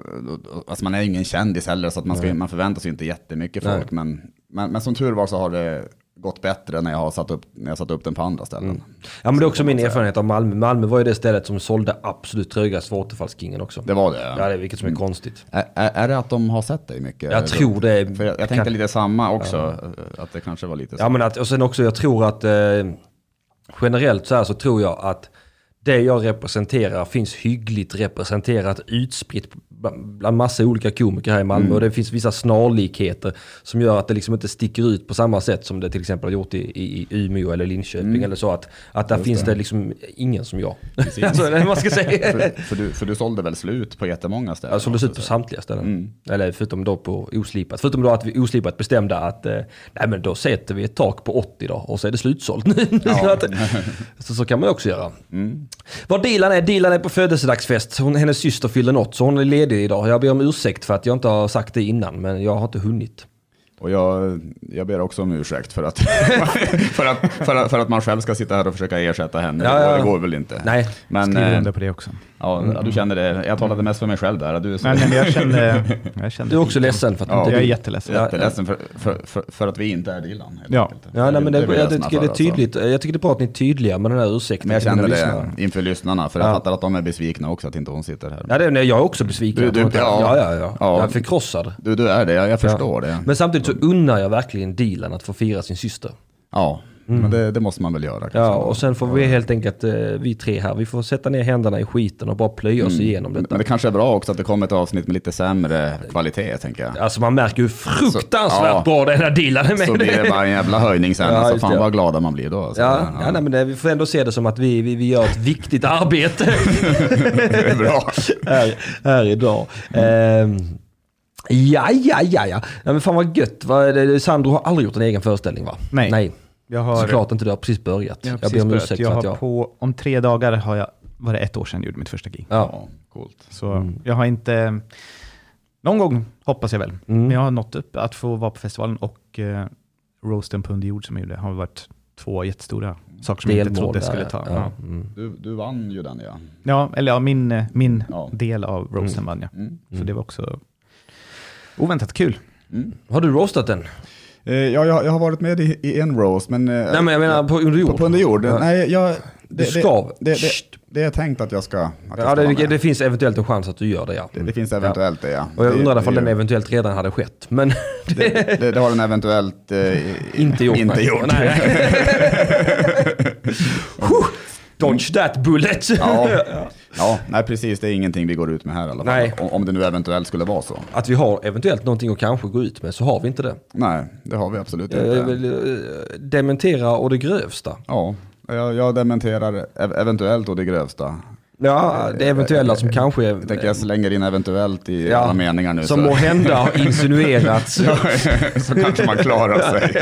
alltså man är ju ingen kändis heller så att man, ska, man förväntar sig inte jättemycket
Nej.
folk. Men, men, men som tur var så har det gått bättre när jag har satt upp, när jag satt upp den på andra ställen.
Mm. Ja men det är också
Mm.
min erfarenhet av Malmö. Malmö var ju det stället som sålde absolut trögast för Återfallskingen också.
Det var det? Mm.
Ja, det är vilket som är konstigt.
Är, är är det att de har sett dig mycket?
Jag tror det är-
För jag, jag tänkte
kan-
lite samma också, att det kanske var lite så.
Ja, men att, och sen också, jag tror att eh, generellt så här så tror jag att det jag representerar finns hyggligt representerat utspritt ba- bland massa olika komiker här i Malmö och det finns vissa snarlikheter som gör att det liksom inte sticker ut på samma sätt som det till exempel har gjort i, i, i Umeå eller Linköping eller så. Att, att där finns det liksom ingen som jag. alltså, det är vad man ska säga.
För, för, du, för du sålde väl slut på jättemånga ställen?
Jag såldes Alltså, ut på samtliga ställen.
Mm.
Eller förutom då på oslipat. Förutom då att vi oslipat bestämde att eh, nej men då sätter vi ett tak på 80 då och så är det slutsålt nu. så, att, så, så kan man ju också göra.
Mm.
Var Dilan är, Dilan är på födelsedagsfest. Hon, hennes syster fyller något så hon är ledig idag. Jag ber om ursäkt för att jag inte har sagt det innan men jag har inte hunnit.
Och jag, jag ber också om ursäkt för att, för, att, för, att, för att man själv ska sitta här och försöka ersätta henne.
Ja, ja, ja.
Det går väl inte.
Nej.
Men,
Skriver
eh,
under på det också.
ja, du känner det. Jag talade mest för mig själv där. Du är så
Nej, nej, men jag kände... Jag kände
Du är också ledsen för att du
Ja.
inte
Jag är
vill.
jätteledsen.
Ja.
jätteledsen för, för, för, för att vi inte är Dilan. helt
Ja.
enkelt.
Ja, nej, men det,
är väl
jag,
som
tycker det är
sa, alltså.
tydligt. Jag tycker det är bra att ni är tydliga med den här ursäkten
Men jag
till mina
känner det
lyssnare.
inför lyssnarna, för jag
Ja.
fattar att de är besvikna också att inte hon sitter här.
Ja, det, nej, jag är också besviken.
Du- du-
ja, ja,
ja.
ja, ja.
Ja.
Jag är förkrossad.
Du, du är det, jag, jag förstår det.
Men samtidigt så unnar jag verkligen Dilan att få fira sin syster.
Ja, men det, det måste man väl göra. kanske.
Mm. Ja, och sen får vi helt enkelt, eh, vi tre här, vi får sätta ner händerna i skiten och bara plöja oss igenom
Men-
detta.
Men det kanske är bra också att det kommer ett avsnitt med lite sämre kvalitet, tänker jag.
Alltså man märker hur fruktansvärt
Så- ja.
bra den här Dilan är med.
Så blir det bara en jävla höjning sen.
Ja,
alltså,
just det.
fan vad glada man blir då. Alltså.
Ja, ja nej, men det, vi får ändå se det som att vi, vi, vi gör ett viktigt arbete
det är bra.
här, här idag. Ehm, ja, ja, ja, ja. ja. Men fan vad gött. Vad är det? Sandro har aldrig gjort en egen föreställning va?
Nej.
nej.
Jag har,
Såklart inte, du har precis börjat.
Jag,
Jag,
har precis
ber om
börjat.
ursäkt
jag
för
har
att jag...
På, om tre dagar har jag, var det ett år sedan jag gjorde mitt första gig.
Ja.
Ja, coolt.
Så
Mm.
jag har inte... Någon gång hoppas jag väl. Men jag har nått upp att få vara på festivalen och eh, roasten på Under jord som jag gjorde har varit två jättestora saker som jag inte
Delmål
trodde
där,
skulle ta.
ja.
Ja.
Du, du vann ju den ja.
Ja, eller ja, min, eh, min
Ja.
del av roasten vann jag.
Mm.
Så det var också oväntat kul.
Har du roastat den?
Eh, Ja, jag, jag har varit med i, i en roast, men... eh,
Nej men jag menar på under jord.
På, på under jord?
Ja.
Nej, jag... Det,
skav.
Det, det,
Sst.
det, det är tänkt att jag ska... Att jag
Ja,
ska vara
det,
med.
det finns eventuellt en chans att du gör det ja.
Det finns eventuellt det ja.
Och jag
Det-
undrar
det
ifall
är ju-
den eventuellt redan hade skett. Men
det, det, det har den eventuellt eh, i-
inte gjort.
Inte
nej.
gjort.
Nej. Huh, Dodge that bullet.
Ja. ja, nej precis. Det är ingenting vi går ut med här i alla fall.
Nej.
Om, om det nu eventuellt skulle vara så.
Att vi har eventuellt någonting att kanske gå ut med så har vi inte det.
Nej, det har vi absolut
Jag
inte.
vill eh, dementera och det grövsta.
Ja, jag, jag dementerar ev- eventuellt och det grövsta.
Ja, det eventuella som kanske är...
Eh, Jag tänker jag slänger in eventuellt i
Eh. ja,
alla meningar nu.
Som må hända har insinuerats.
så kanske man klarar sig.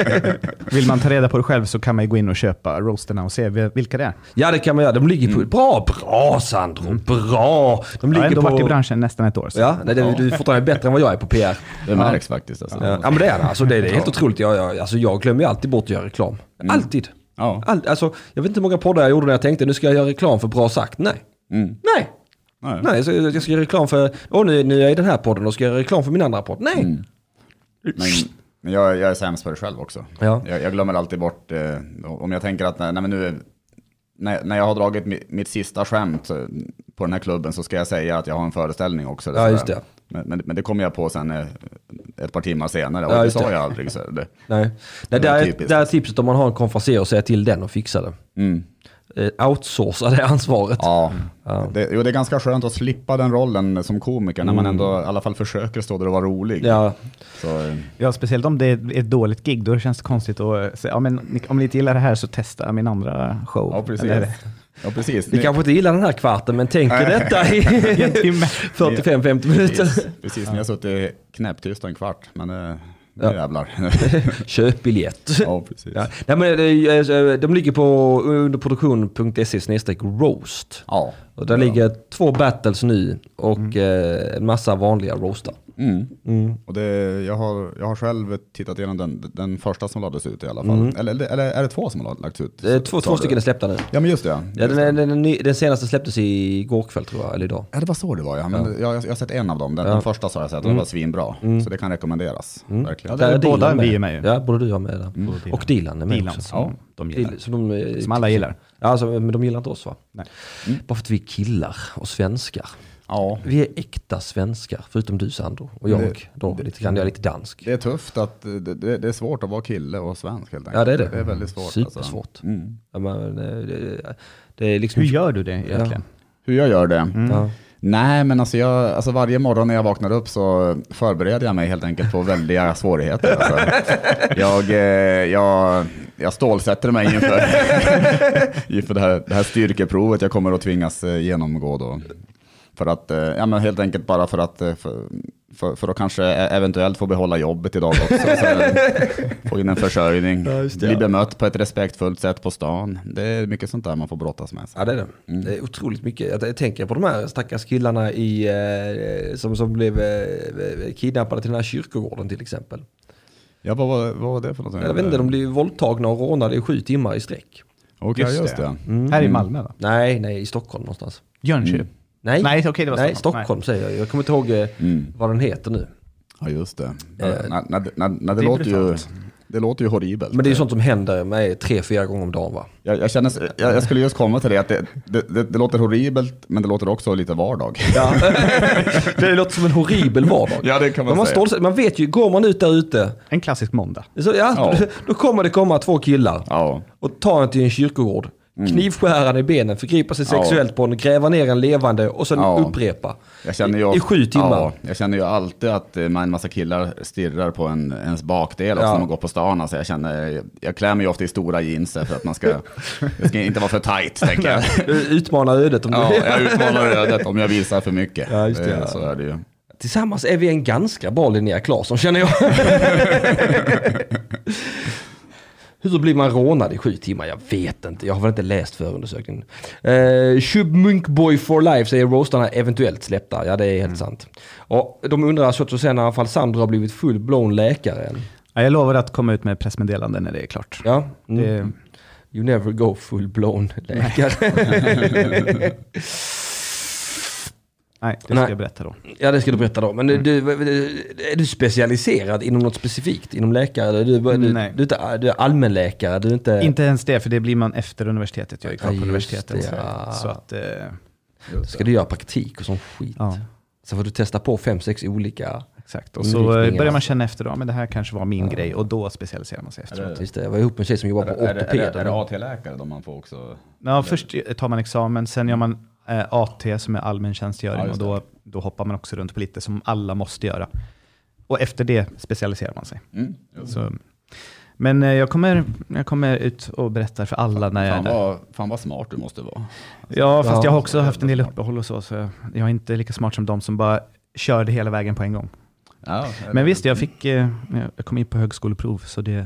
Vill man ta reda på det själv så kan man ju gå in och köpa roasterna och se vi- vilka det är.
Ja det kan man göra. De ligger
Mm.
på... Bra, bra Sandro. Bra. De
Jag har
ligger
ändå varit i
på...
branschen nästan ett år. Så.
Ja, nej, det, du är fortfarande bättre än vad jag är på PR.
Det märks faktiskt. Alltså.
Ja men det är det. Alltså, det, är- det är helt otroligt. Jag, jag, alltså, jag glömmer ju alltid bort att göra reklam. Alltid.
Mm. Ja.
All, alltså, jag vet inte hur många poddar jag gjorde när jag tänkte nu ska jag göra reklam för Bra Sagt. Nej. Nej.
Mm. Nej.
Nej, så jag jag ska göra reklam för, åh nu, nu är jag i den här podden och ska jag göra reklam för min andra podd. Nej.
Mm. Men, men jag, jag är sämst på det själv också.
Ja.
Jag, jag glömmer alltid bort, eh, om jag tänker att nej, nej, men nu, när, när jag har dragit mi, mitt sista skämt eh, på den här klubben så ska jag säga att jag har en föreställning också. eller
Ja,
sådär.
just det.
Men, men, men det kommer jag på sen eh, ett par timmar senare och
Ja,
det
just
sa
det.
jag aldrig. Så det,
Nej. Nej,
Det
där,
är
är,
typiskt.
där är tipset om man har en konferenser och säga till den och fixa det.
mm.
Eh, outsourca det ansvaret.
Ja, det, jo, det är ganska skönt att slippa den rollen som komiker när man ändå i alla fall försöker stå där och vara rolig.
Mm. Ja.
Så, eh,
Ja, speciellt om det är ett dåligt gig, då känns det konstigt att eh, säga, ja, men ni- om ni inte gillar det här så testa min andra show.
ja, precis.
Eller-
Ja, precis.
Ni
Ni-
kanske inte gillar den här kvarten men tänk er detta i
en timme.
45-50 minuter.
Precis, precis. ni har suttit knäpptyst en kvart, men eh, nu
Ja.
jävlar.
Köp biljett.
ja, precis.
Ja. Nej, men, eh, de ligger på underproduktion.se roast.
Ja.
Och där ligger två battles nu och
Mm.
eh, en massa vanliga roastar.
Mm. Och det, jag, har, jag har själv tittat igenom den, den första som lades ut i alla fall. Eller, eller, eller är det två som har lagts ut?
Eh, Två,
Sa
två
du?
stycken Mm. är släppta nu.
Ja men just det ja.
Ja, den, den, den, ny- den senaste släpptes igår kväll tror jag, eller idag.
Ja, det var så det var ja. Men Jag, jag har sett en av dem. Den, den första så har jag sett och
Mm.
den var svinbra. Så det kan rekommenderas. Verkligen.
där är
Dilan
båda vi är med ju. Mm.
Ja, både du och jag med där.
Dilan.
Och Dilan är med
Dilan,
också.
som de gillar.
Dil- som, de, eh,
Som alla gillar.
Ja, alltså, men de gillar inte oss va? Mm.
Nej.
Bara för att vi är killar och svenskar.
Ja.
Vi är äkta svenskar, förutom du Sandro. Och jag då, lite grann. Jag är lite dansk.
Det är tufft att det, det, det är svårt att vara kille och svensk helt enkelt.
Ja, det är det.
Det är väldigt svårt. Alltså.
Supersvårt. Ja, men, eh, det, det är liksom...
Hur gör du det egentligen?
Hur jag gör det?
Ja.
Nej, men alltså, jag, alltså varje morgon när jag vaknar upp så förbereder jag mig helt enkelt på väldiga svårigheter. Alltså. Jag, eh, jag, jag stålsätter mig inför, inför det, här, det här styrkeprovet jag kommer att tvingas eh, genomgå. Då. För att, eh, ja, men helt enkelt bara för att, eh, för, för, för att kanske e- eventuellt få behålla jobbet idag också. Så här, få in en försörjning, bli bemött på ett respektfullt sätt på stan. Det är mycket sånt där man får brottas med.
Ja det är det. Mm. Det är otroligt mycket. Jag, jag tänker på de här stackars killarna i, eh, som, som blev eh, kidnappade till den här kyrkogården till exempel.
Ja, vad, var- vad var det för något?
Jag vet inte, de blev ju våldtagna och rånade i sju timmar i sträck.
Okej,
Just
just
det.
det.
Mm.
Här i Malmö va?
Nej, nej, i Stockholm någonstans.
Jönköping.
Mm. Nej,
Nej, okej, det var
nej
Stockholm.
Stockholm säger jag. Jag kommer inte ihåg eh,
Mm.
vad den heter nu.
Ja, just
Eh,
det. Ja, nej, nej, nej, nej, det,
det är
låter ju,
brutalt.
det låter ju horribelt.
Men det är
Eh.
ju sånt som händer med tre, fyra gånger om dagen va?
jag, jag, känner, jag, jag skulle just komma till det, att det, det, det, det låter horribelt, men det låter också lite vardag.
det låter som en horribel vardag.
Ja, det kan man
Men man,
säga.
stålsätter- man vet ju, går man ut där ute,
En klassisk måndag.
så, ja,
Ja.
då kommer det komma två killar.
Ja, Mm.
och ta en till en kyrkogård. Knivskära den i benen, förgripa sig
Ja.
sexuellt på den, gräva ner en levande och sen
Ja.
upprepa.
jag känner ju,
I, I sju timmar.
Ja, jag känner ju alltid att eh, man- en massa killar stirrar på en, ens bakdel också
Ja.
när man går på stan. Alltså jag, känner, jag, jag klär mig ju ofta i stora jeans för att man ska, det ska inte vara för tight, tänker jag.
Du Utmanar ödet om
Ja,
du
jag utmanar ödet om jag visar för mycket.
Ja, just det.
Eh, Så är det ju.
Tillsammans är vi en ganska bra Linnea Claesson känner jag. Hur blir man rånad i sju timmar? Jag vet inte. Jag har väl inte läst förundersökningen. Eh, Shub Munkboy for life säger roastarna eventuellt släppta. Ja, det är helt
Mm.
sant. Och de undrar så att sen i alla fall Sandra har blivit full-blown läkare än.
Ja, jag lovar att komma ut med pressmeddelande när det är klart.
Ja. Mm.
Det,
You never go full-blown läkare.
nej, det ska
Nej.
jag berätta då.
ja, det ska du berätta då. Men
Mm.
du, är du specialiserad inom något specifikt? Inom läkare? Du, du, du,
Nej.
du, är inte- du är allmänläkare? Du är inte...
Inte ens det, för det blir man efter universitetet. Jag är kvar
Ja,
på
just
universitetet.
det, ja.
Så att, eh,
Ska du göra praktik och sån skit?
ja,
Så får du testa på fem, sex olika.
exakt. Och så eh,
Inriktningar,
börjar man
alltså.
känna efter, då, men det här kanske var min grej. Och då specialiserar man sig efteråt.
Just det, jag var ihop med en tjej som jobbade på
Mm.
ortopeden.
AT-läkare då man får också?
Ja, först tar man examen, sen gör man eh, AT som är allmän tjänstgöring
Ja,
och
just
då, då hoppar man också runt på lite som alla måste göra. Och efter det specialiserar man sig.
Mm,
Så, men eh, jag kommer, jag kommer ut och berättar för alla när jag är
Fan
där.
vad, fan vad smart du måste vara.
Ja, fast jag har också
Ja.
haft en del uppehåll och så, så jag- jag är inte lika smart som de som bara körde hela vägen på en gång.
Ja,
Men visst, jag, fick, eh, jag kom in på högskoleprov, så det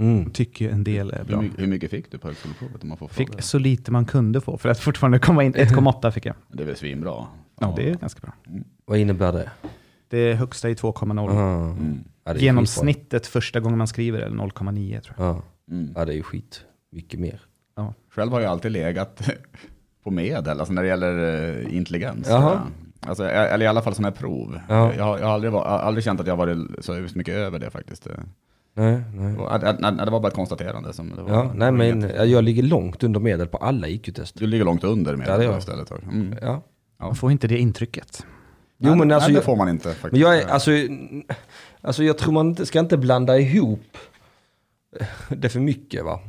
Mm.
tycker ju en del är
hur,
bra.
my- hur mycket fick du på högskoleprovet om man får
Fick
fråga?
så lite man kunde få, för att fortfarande komma in. 1,8 fick jag.
Det är väl svinbra?
Ja, det är ganska bra.
Vad innebär det?
Det högsta är 2,0.
Ah. Ja, det är
Genomsnittet första gången man skriver är 0,9 tror jag.
skitbra.
Mm.
Ja. ja, det är ju skit. Mycket mer.
Ja.
Själv har jag alltid legat på medel, alltså när det gäller eh, intelligens.
Jaha.
Alltså, e- eller i alla fall sådana här prov.
Ja.
Jag, har- jag har aldrig, var, aldrig känt att jag varit så just mycket över det faktiskt. Det
Nej, nej.
var, att- att- att- det var bara ett konstaterande. Som det var,
Ja, nej men jag ligger långt under medel på alla IQ-tester.
Du ligger långt under med
Ja, det gör jag.
istället. Mm.
Ja.
Man får inte det intrycket.
Jo,
nej,
men alltså,
nej, det
jag-
får man inte faktiskt.
Men jag är, alltså, alltså jag tror man inte- ska inte blanda ihop eh, det för mycket va.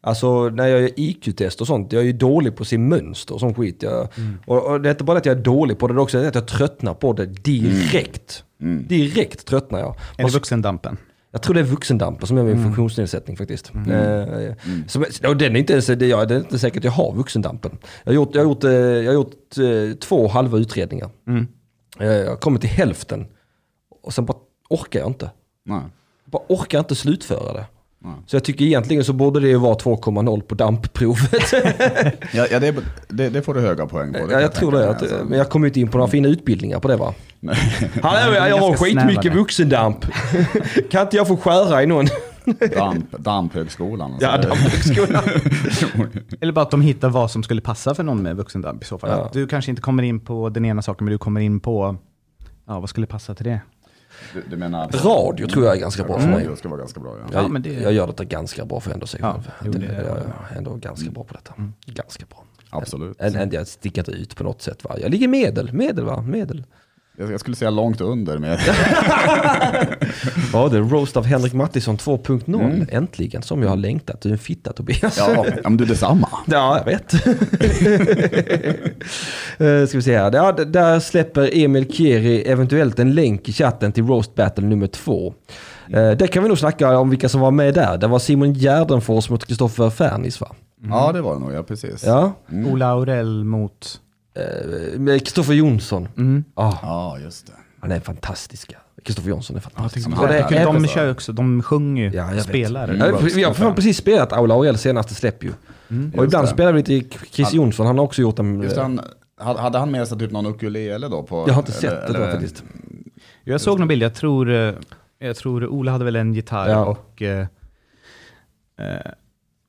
Alltså när jag gör IQ-test och sånt, jag är ju dålig på att se mönster och sån skit. Jag,
Mm.
och, och det är inte bara att jag är dålig på det, det är också att jag tröttnar på det direkt. Direkt tröttnar jag.
Mm. Är
Och
det
så-
vuxendampen?
jag tror det är vuxendampen som är
Mm.
min funktionsnedsättning faktiskt. Eh, som, och den är inte ens, det, jag, det är inte säkert att jag har vuxendampen. Jag har gjort, jag har gjort, eh, jag har gjort eh, två halva utredningar.
Mm.
Eh, jag har kommit till hälften och sen bara orkar jag inte.
Nej.
Jag bara orkar inte slutföra det.
Nej.
Så jag tycker egentligen så borde det ju vara 2,0 på dampprovet.
Ja, ja det, det, det får du höga poäng på. det kan
ja, jag tror
tänka
det.
mig,
Att,
alltså.
men jag kom ju inte in på några fina utbildningar på det va?
Nej.
Hallå, jag har
ganska
skitmycket
snäva.
vuxendamp. kan inte jag få skära i någon?
Damp, damphögskolan. alltså.
Ja, damphögskolan.
Eller bara att de hittar vad som skulle passa för någon med vuxendamp i så fall.
Ja.
Att Du kanske inte kommer in på den ena saken, men du kommer in på, ja vad skulle passa till det?
Du, du menar...
Radio tror jag är ganska bra för mig.
Radio ska vara ganska bra, ja.
Mm. Ja,
Jag,
men det-
jag gör detta ganska bra för ändå sig
Ja,
själv.
jo,
det,
det Mm. är
jag är ändå ganska bra på detta. Ganska bra.
Absolut.
En, en, jag sticker inte ut på något sätt. Va? Jag ligger medel, medel va? Medel.
Jag, jag skulle säga långt under, men jag,
Ja, det är Roast av Henrik Mattisson 2.0. Äntligen, som jag har längtat. Du är en fitta Tobias.
ja, ja, men du detsamma.
Ja, jag vet. Eh, Ska vi se här. Ja, d- där släpper Emil Kiri eventuellt en länk i chatten till Roast Battle nummer två. Eh, Det kan vi nog snacka om vilka som var med där. Det var Simon Gärdenfors mot Kristoffer Fernis va?
Mm. Ja, det var det nog, ja precis.
Ja.
Ola Aurell mot...
Eh, med Kristoffer Jonsson. Ah,
Ja, just det.
han är fantastisk. Kristoffer Jonsson är fantastisk.
men
Och det
han-
är-
de kör ju också, de sjunger ju,
Ja, jag
och
vet. Mm.
spelar.
Ja, vi- vi har fan precis spelat Aula Aurell senaste släpp ju. Och ibland
det.
spelar vi lite Chris Jonsson, han har också gjort en...
Just han, ha- hade han med sig typ någon ukulele då? På,
Jag har inte
eller-
sett det
eller-
då faktiskt.
Jag såg någon bild, jag tror, eh, jag tror Ola hade väl en gitarr
Ja.
och... Eh, eh,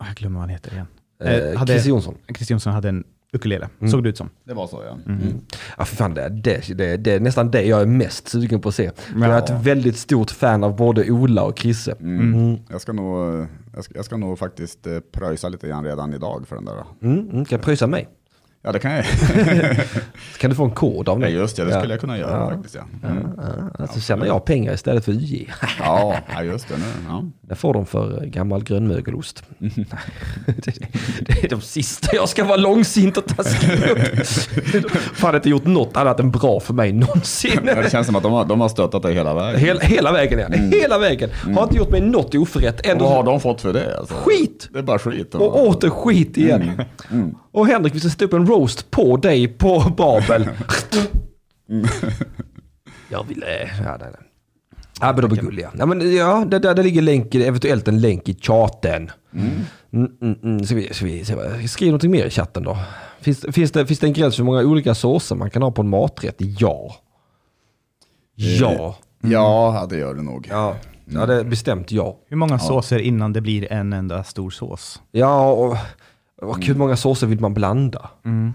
jag glömmer vad han heter igen.
Eh,
hade-
Chris Jonsson. Mm.
Chris Jonsson hade en ukulele, såg det ut som.
Det var så ja. Mm.
Ja, för fan, det, det, det, det är nästan det jag är mest sugen på att se. För Jag är ett väldigt stort fan av både Ola och Krisse. Mm,
Jag, ska nog, eh, jag, ska, jag ska nog faktiskt eh, pröjsa lite grann redan idag för den där.
Mm, mm, kan jag pröjsa mig?
Ja, det kan jag.
Så kan du få en kod av
Ja,
mig.
just det, det
Ja.
skulle jag kunna göra faktiskt. Ja, mm.
Ja, så tjänar jag pengar istället för UJ.
ja ja, just det. Nu. Ja.
Jag får dem för eh, gammal grönmögelost. det, det är de sista jag ska vara långsint och taskig mot. Fan, inte gjort något annat än bra för mig någonsin.
Men Det känns som att de har, de har stöttat dig hela vägen.
Hela, hela vägen är det. Hela vägen. Har inte gjort mig något oförrätt.
Mm. Och Vad har
Ändå
de fått för det? Alltså?
skit!
Det är bara skit. de
Och
har.
åter skit igen. Och Henrik, vi ska sätta upp en roast på dig på Babel. Mm. Jag vill... eh, Ja, nej, nej. Ja, men de är gulliga. Ja, men, ja där, där, där ligger länk, eventuellt en länk i chatten. Mm, mm, mm. Ska vi, ska vi, se vad- skriv någonting mer i chatten då. Finns, finns, det, finns det en gräns för hur många olika såser man kan ha på en maträtt? Ja. Ja.
Ja, ja, det gör det nog.
Ja, ja det är bestämt ja.
Hur många såser innan det blir en enda stor sås?
Ja, och, och hur många såser vill man blanda?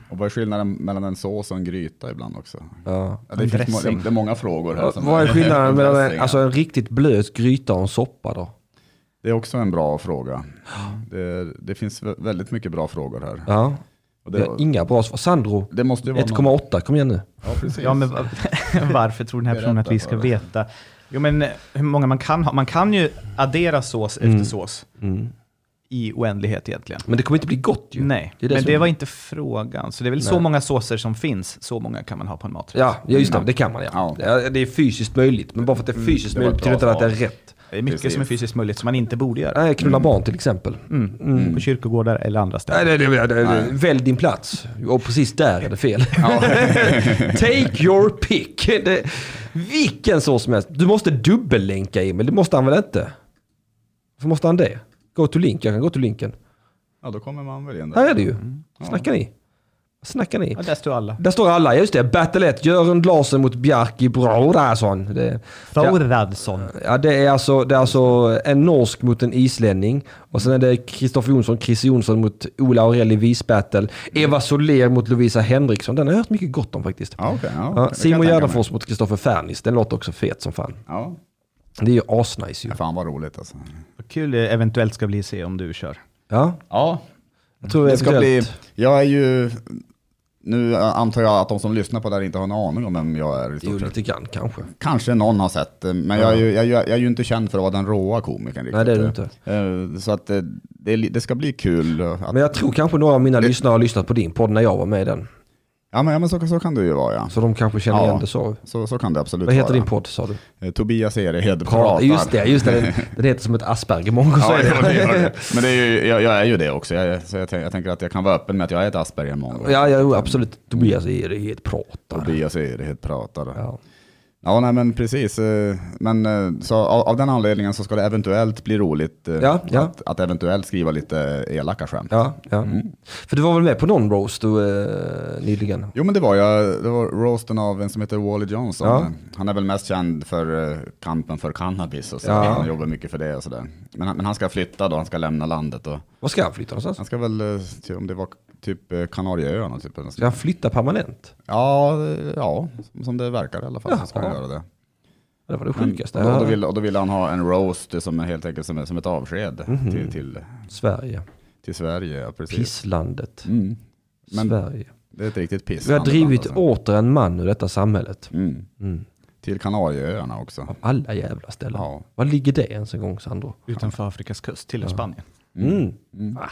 Och vad är skillnaden mellan en sås och en gryta ibland också?
Ja.
Ja, det, finns,
dressing.
må- det är många frågor här. som-
Vad är skillnaden mellan en,
Dressing,
alltså
ja.
en riktigt blöt gryta och en soppa då?
Det är också en bra fråga. Det, det finns vä- väldigt mycket bra frågor här.
Ja,
Och
det
det,
är inga bra svar. Sandro,
det måste ju vara någon-
1,8, kom igen nu.
Ja, precis.
Ja, men va- varför tror den här personen att vi ska veta? Jo, men eh, hur många man kan ha? Man kan ju addera sås
Mm.
efter sås i oändlighet egentligen.
Men det kommer inte bli gott ju.
Nej,
Det är det
men
som-
det var inte frågan. Så det är väl så
Nej.
många såser som finns, så många kan man ha på en maträtt.
Ja, ja, just det, det kan man ja.
Mm. Ja. Mm,
ja. Det är fysiskt möjligt, men bara för att det är fysiskt
det var ett
möjligt betyder inte
bra
att det är
svar. Mm.
rätt.
Det är mycket
Precis.
som är fysiskt möjligt som man inte borde göra.
Nej, knulla barn till exempel.
På kyrkogårdar eller andra ställen.
Mm. Nej, det, det, det, det, välj din plats. Och precis där är det fel. Take your pick. Det, vilken sås som helst. Du måste dubbellänka Emil, det måste han väl inte? Varför måste han det? Gå till link, jag kan gå till linken.
Ja, då kommer man väl in
Här
där.
är det ju.
Mm.
Snackar ni? Snackar ni?
Ja, där står alla.
Där står alla, just det. Battle 1, Göran Larsen mot Bjarki Brorason. Det, ja,
Thorradsson.
ja, det, är alltså, det är alltså en norsk mot en islänning. Och sen är det Kristoffer Jonsson, Chris Jonsson mot Ola Aurell i visbattle. Eva Soler mot Lovisa Henriksson. Den har jag hört mycket gott om faktiskt.
Ja, okej, ja, det kan
Ja,
jag
Simon
tänka mig.
Gärdenfors mot Kristoffer Fernis. Den låter också fet som fan.
Ja,
Det är ju asnice ju.
fan vad roligt alltså.
Vad kul det eventuellt ska bli att se om du kör.
Ja,
Ja,
jag tror
det ska bli...
eventuellt-
Jag är ju... Nu antar jag att de som lyssnar på det här inte har en aning om vem jag är i
Jo,
stort sett.
lite grann kanske.
Kanske någon har sett det, men jag är, ju, jag, är ju- jag är ju inte känd för att vara den råa komikern riktigt.
Nej, det är du inte.
Eh, Så att eh, det, är li- det ska bli kul. Att,
Men jag tror kanske några av mina lyssnare har lyssnat på din podd när jag var med i den.
ja, men, ja, men så, så kan det ju vara ja.
Så de kanske känner
Ja.
igen det så.
Så, så kan det absolut
Vad heter
vara.
din podd sa du?
Eh, Tobias Erehed
Prata.
pratar.
Just det, just det. Den, den heter som ett aspergermongo.
Ja,
säger
det var det jag
jag.
hörde. Men det är ju, jag, jag är ju det också, jag, är- så jag, tän- jag tänker att jag kan vara öppen med att jag är ett Asperger mongo.
ja, ja, jo, absolut. Tobias är det helt pratar.
Tobias Erehed pratar. Ja.
Ja.
nej men precis. eh, Men eh, så av, av den anledningen så ska det eventuellt bli roligt eh,
Ja, ja.
Att, att eventuellt skriva lite elaka skämt.
Ja, ja.
Mm.
För du var väl med på någon roast du, eh, nyligen?
Jo men det var jag, det var roasten av en som heter Wally Johnson.
Ja.
Han är väl mest känd för eh, kampen för cannabis och så.
Ja.
Han jobbar mycket för det och sådär. Men, han- men han ska flytta då, han ska lämna landet och
Var ska han flytta någonstans?
han ska väl, eh, till- om det var typ eh, Kanarieöarna typ. eller något sånt.
Ska han flytta permanent?
Ja, det- ja, som- som det verkar i alla fall så ska han
Jaha.
göra det.
Det var det
Men,
sjukaste.
och, då
Ja.
Mm. vill, och då vill han ha en roast som är helt enkelt som, som ett avsked
Mhm.
till, till,
Sverige.
till Sverige. Ja, precis.
Pisslandet.
Mm. Men- alltså.
Sverige.
Det är ett riktigt piss.
Vi har drivit åter en man ur detta samhället.
Mm.
Mm.
Till Kanarieöarna också.
Av alla jävla ställen.
Ja.
Var ligger det ens en gång Sandro?
Utanför Afrikas kust, till Spanien.
Mm.
Mm.
Ah.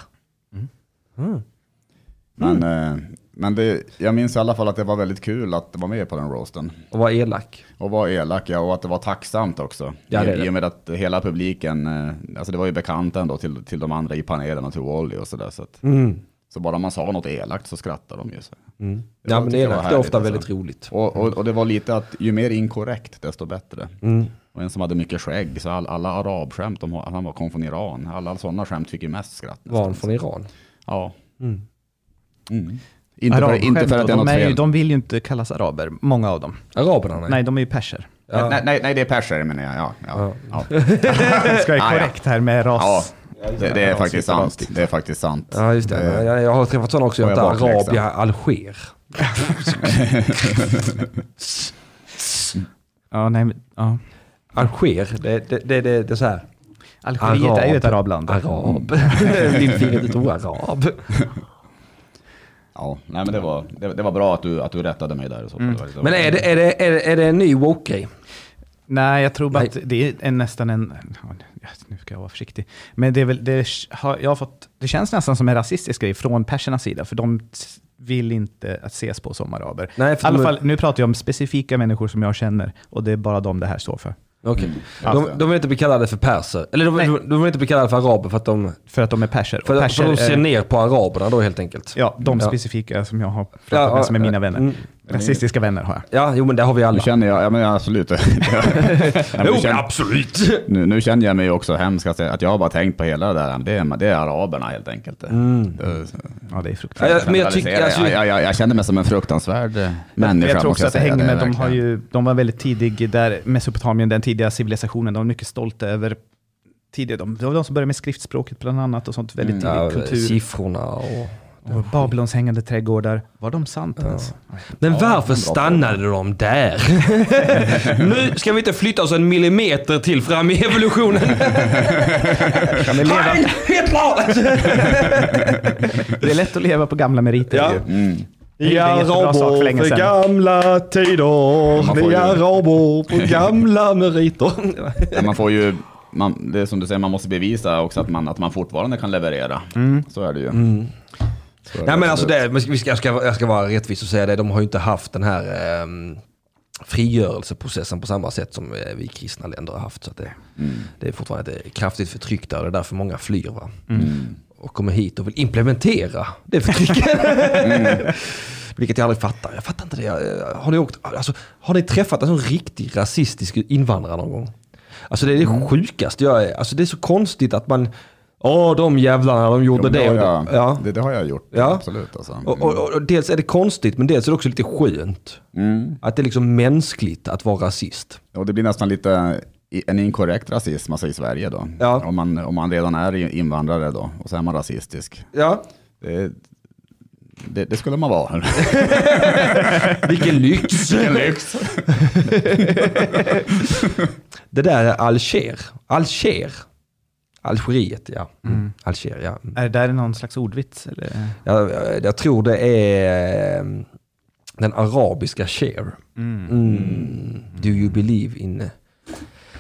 Men,
Mm.
eh, men det, jag minns i alla fall att det var väldigt kul att vara med på den roasten.
Och var elak.
Och vara elak, ja, och att det var tacksamt också.
Ja, det är det.
I och med att hela publiken, eh, alltså det var ju bekant ändå till, till de andra i panelen och till Wally och sådär. Så, att,
Mm.
så bara man sa något elakt så skrattade de ju. Så.
Mm.
Jag
Ja men
tycker det var
elakt är
härligt
ofta
alltså.
väldigt roligt.
Och, och, och det var lite att ju mer inkorrekt desto bättre.
Mm.
Och en som hade mycket skägg, så all, alla arabskämt, de, han var, kom från Iran, alla sådana skämt fick ju mest skratt.
Var
nästan.
han från Iran?
Ja.
Mm.
Mm. Inte, för, inte för att det är
de,
något
är ju,
fel.
de vill ju inte kallas araber, många av dem.
Araberna nej.
Nej, de är ju perser.
Ja.
Nej, nej, nej, det är perser menar jag. Ja, ja, ja.
Ska jag
Ah, ja.
vara korrekt här med
ja.
ras?
Det, det är faktiskt sant. Det är faktiskt sant.
Ja just det.
Eh,
Jag, jag har träffat sådana också. Jag heter
Får jag
Arabia
bakläxa?
Alger.
Ja, nej, men- ja.
Alger, det, det, det, det, det är så här.
Algeriet är ju ett arabland.
Arab.
Mm.
Lillfingret är ett arab.
Ja, nej men det var, det, det var bra att du, att du rättade mig där. i Så. fall. Det var- det var-
Men är det, är det, är det, är det en ny woke-grej?
Nej, jag tror bara
Nej.
att det är en, nästan en... ja, Nu ska jag vara försiktig. Men det, är väl, det, har, jag har fått, det känns nästan som en rasistisk grej från persernas sida, för de s- vill inte att ses på som araber.
Nej,
Nej,
för
I alla
de-
fall, nu pratar jag om specifika människor som jag känner, och det är bara de det här står för.
Okej.
Alltså.
De, de vill inte bli kallade för perser. Eller de,
Nej.
de, de vill inte bli kallade för araber för att de,
För att de är perser. och
för, att-
perser
för att de ser
är-
ner på araberna då helt enkelt.
Ja, de
Ja.
specifika som jag har pratat
Ja,
med, som är
ja,
mina vänner.
mm.
Rasistiska vänner har jag.
Ja, jo men det har vi
Nu
alla.
känner jag, ja men absolut. Nej, men nu,
Jo, men
känner,
absolut!
nu, nu känner jag mig också hemskt att jag att jag har bara tänkt på hela det där. Det är, det är araberna helt enkelt. Det,
Ja, det är
Ja,
fruktansvärt.
jag, men jag tycker... Alltså,
jag, jag, jag, jag känner mig som en fruktansvärd eh, människa.
jag tror också att
måste
det
jag
hänger
säga.
med, de, har
verkligen-
ju, de var väldigt tidig där, Mesopotamien, den tidiga civilisationen, de var mycket stolta över tidigare, de, det var de som började med skriftspråket bland annat och sånt, väldigt tidig
Mm, ja,
kultur.
siffrorna och...
Och Babylons hängande trädgårdar, var de sant ens?
Men varför stannade de där? nu ska vi inte flytta oss en millimeter till fram i evolutionen. Heil Hitler!
Det är lätt att leva på gamla meriter
Ja.
ju. Det är ju en jättebra sak för länge sedan.
gamla tider.
Man får ju-
arabor på gamla meriter.
Ja, man får ju, man, det är som du säger, man måste bevisa också att man, att man fortfarande kan leverera. Så är det ju. Så är det
Mm. Nej men alltså
absolut.
det, men vi ska, jag, ska, jag ska vara rättvis och säga det, de har ju inte haft den här ehm, frigörelseprocessen på samma sätt som eh, vi kristna länder har haft. Så att det, det är fortfarande ett kraftigt förtryck där och det är därför många flyr. Va? Och kommer hit och vill implementera det förtrycket. Mm. Vilket jag aldrig fattar. Jag fattar inte det. Jag- Har ni, åkt, alltså, har ni träffat en sån riktig rasistisk invandrare någon gång? Alltså det är det sjukaste jag är. Alltså det är så konstigt att man, åh de jävlarna de gjorde
Jo, men
det.
har
och
jag,
det. Ja.
Det, det har jag gjort,
Ja.
absolut. Alltså.
Och, och, och- och dels är det konstigt men dels är det också lite skönt. Att det är liksom mänskligt att vara rasist.
Och det blir nästan lite i- en inkorrekt rasism alltså i Sverige då.
Ja.
Om, man, om man redan är invandrare då och så är man rasistisk.
Ja.
Det, det, det skulle man vara.
Vilken lyx!
En lyx.
Det där är Alger. Alger. Algeriet, ja. Mm. Alger, ja.
Är det där någon slags ordvits? Eller?
Jag, jag, jag tror det är eh, den arabiska Cher. Mm. Do you believe in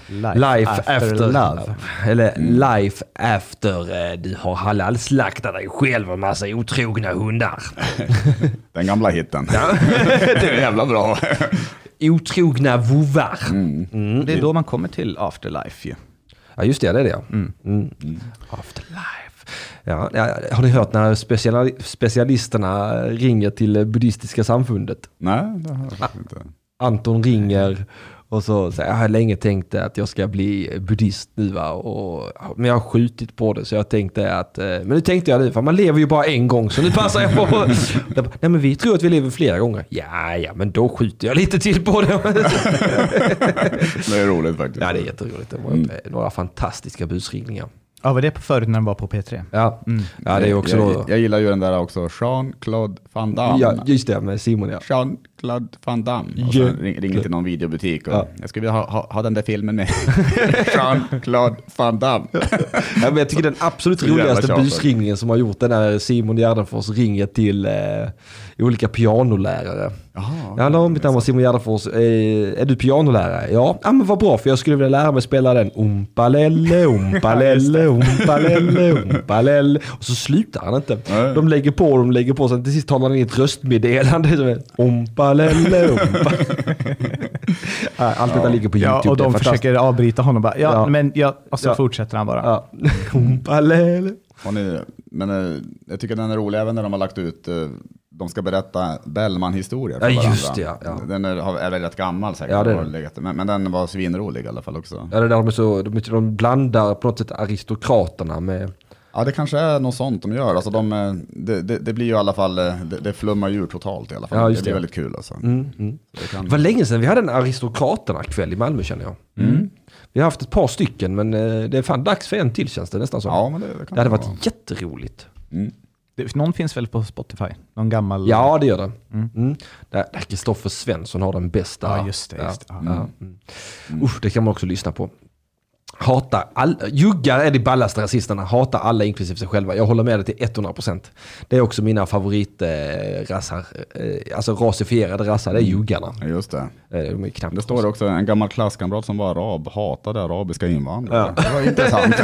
Life,
life after, love? Eller life after eh, du har halalslaktat dig själv och massa otrogna hundar.
Den gamla hitten. det är jävla bra.
Otrogna vovar.
Mm.
Det är då man kommer till afterlife ju.
Ja just det, det är det ja. Mm. Afterlife. Ja, ja, har ni hört när speciali- specialisterna ringer till eh, buddhistiska samfundet?
Nej, det har jag faktiskt inte.
Anton ringer och så säger jag har länge tänkt att jag ska bli buddhist nu va. Och, men jag har skjutit på det så jag tänkte att, eh, men nu tänkte jag nu för man lever ju bara en gång så nu passar jag på. Jag bara, Nej men vi tror att vi lever flera gånger. Ja, ja men då skjuter jag lite till på det.
Det är roligt faktiskt.
ja det är jätteroligt. Det var
Mm.
några fantastiska busringningar.
Ja, var det på förut när den var på P3?
Ja, ja det är också
Mm. jag,
då.
jag gillar ju den där också, Jean-Claude Van Damme.
Ja, just det, med Simon ja.
Jean Jean-Claude Van Damme. Och sen
Jean-
ring, ringer till någon videobutik och
Ja.
jag skulle vilja ha, ha, ha den där filmen med Jean-Claude Van Damme.
Ja, men jag tycker den absolut
Så jävla
roligaste
tjatar.
busringningen som har gjort den är Simon Gärdenfors ringer till eh, olika pianolärare.
Jaha.
Ja, hallå, mitt namn var Simon Gärdenfors. Eh, är du pianolärare? Ja, ah, men vad bra för jag skulle vilja lära mig spela den. Ompalelle, ompalelle, ompalelle, ompalelle. Och så slutar han inte.
Nej.
De lägger på och de lägger på. Sen till sist talar han in ett röstmeddelande. som är Ompalelle, ompalelle. Ah, Allt detta ligger på YouTube.
Ja, och
det är
de
fantastiskt.
försöker avbryta honom bara. Ja,
Ja.
men jag, och så
Ja.
fortsätter han bara.
Ja. Ompalelle.
Har ni- Men eh, jag tycker den är rolig även när de har lagt ut, eh, de ska berätta Bellman-historier för
Ja,
varandra.
just det, ja, ja.
Den är, har- är väl rätt gammal säkert,
Ja, det är
har
den.
legat- men, men den var svinrolig i alla fall också.
Ja, det där de, är så, de, de blandar på något sätt aristokraterna med...
Ja, det kanske är något sånt de gör. Alltså de, eh, det, det, det blir ju i alla fall, eh, det, det flummar ju ur totalt i alla fall.
Ja, just
det blir
det. Mm.
väldigt kul alltså. Det kan-
Det var länge sedan vi hade en aristokraterna-kväll i Malmö känner jag.
Mm.
Vi har haft ett par stycken men eh, det är fan dags för en till känns det nästan som.
Ja, men det, det kan
det hade
vara.
varit jätteroligt.
Det, någon finns väl på Spotify? Någon gammal?
Ja, det gör det. Mm. Där där Kristoffer Svensson har den bästa.
Ja, just det, just det.
Ja,
Ja.
ja. Mm. Usch, det kan man också lyssna på. Hata alla, juggar är de ballaste rasisterna, hatar alla inklusive sig själva. Jag håller med dig till 100%. Det är också mina favoritrassar, eh, rassar, eh, alltså rasifierade rassar, det är
Mm.
juggarna.
Ja, Just det.
Eh, de är knappt
Det står också en gammal klasskamrat som var arab hatade arabiska invandrare. Det var intressant.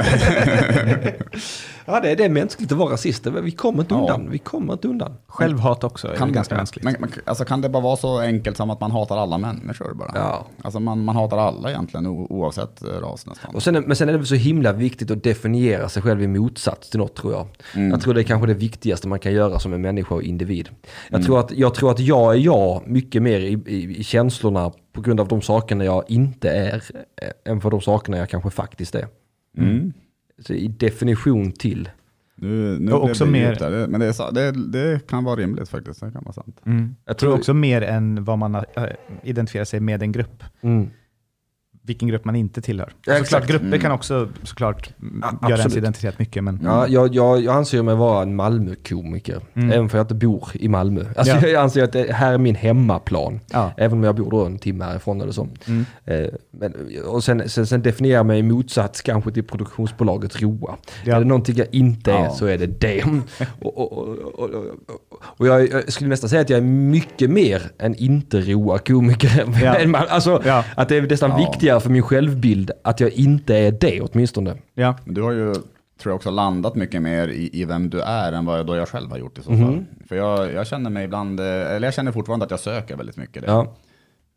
Ja, det, det är mänskligt att vara rasist. Vi kommer inte
Ja.
undan. Vi kommer inte undan.
Självhat också. Är
kan,
väl
ganska
ganska
men,
mänskligt.
men, alltså, kan det bara vara så enkelt som att man hatar alla människor bara?
Ja.
Alltså man, man hatar alla egentligen o, oavsett eh, ras nästan.
Och sen, är- men sen är det väl så himla viktigt att definiera sig själv i motsats till något tror jag.
Mm.
Jag tror det är kanske det viktigaste man kan göra som en människa och individ. Jag,
Mm.
tror, att, jag tror att jag är jag mycket mer i, i, i känslorna på grund av de sakerna jag inte är eh, än för de sakerna jag kanske faktiskt är.
Mm.
Så i definition till.
Nu, nu
Och
blev
också
det
mer-
djupt där. Det- Men det, är så- det, det kan vara rimligt faktiskt. Det kan vara sant.
Mm.
Jag
Jag tror också mer än vad man äh, identifierar sig med en grupp.
Mm.
Vilken grupp man inte tillhör.
Ja, exakt.
såklart, grupper
Mm.
kan också såklart mm,
Ja,
göra ens
absolut.
identitet mycket, men
Ja, jag, jag, jag anser mig vara en Malmökomiker,
Mm.
även för jag inte bor i Malmö. Alltså,
Ja.
Jag anser att det här är min hemmaplan,
Ja.
även om jag bor då en timme härifrån eller så.
Mm.
Eh, men, och sen, sen, sen definierar jag mig i motsats kanske till produktionsbolaget Roa.
Ja.
Är det någonting jag inte är
Ja.
så är det det. och och, och, och, och, och jag, jag skulle nästan säga att jag är mycket mer en inte Roa-komiker.
Ja.
än Mal- alltså,
Ja.
Att det är nästan
Ja.
viktigare för min självbild att jag inte är det åtminstone.
ja.
Men du har ju, tror jag också, landat mycket mer i, i vem du är än vad jag, då jag själv har gjort i så fall. För jag, jag känner mig ibland, eh, eller jag känner fortfarande att jag söker väldigt mycket det.
Ja.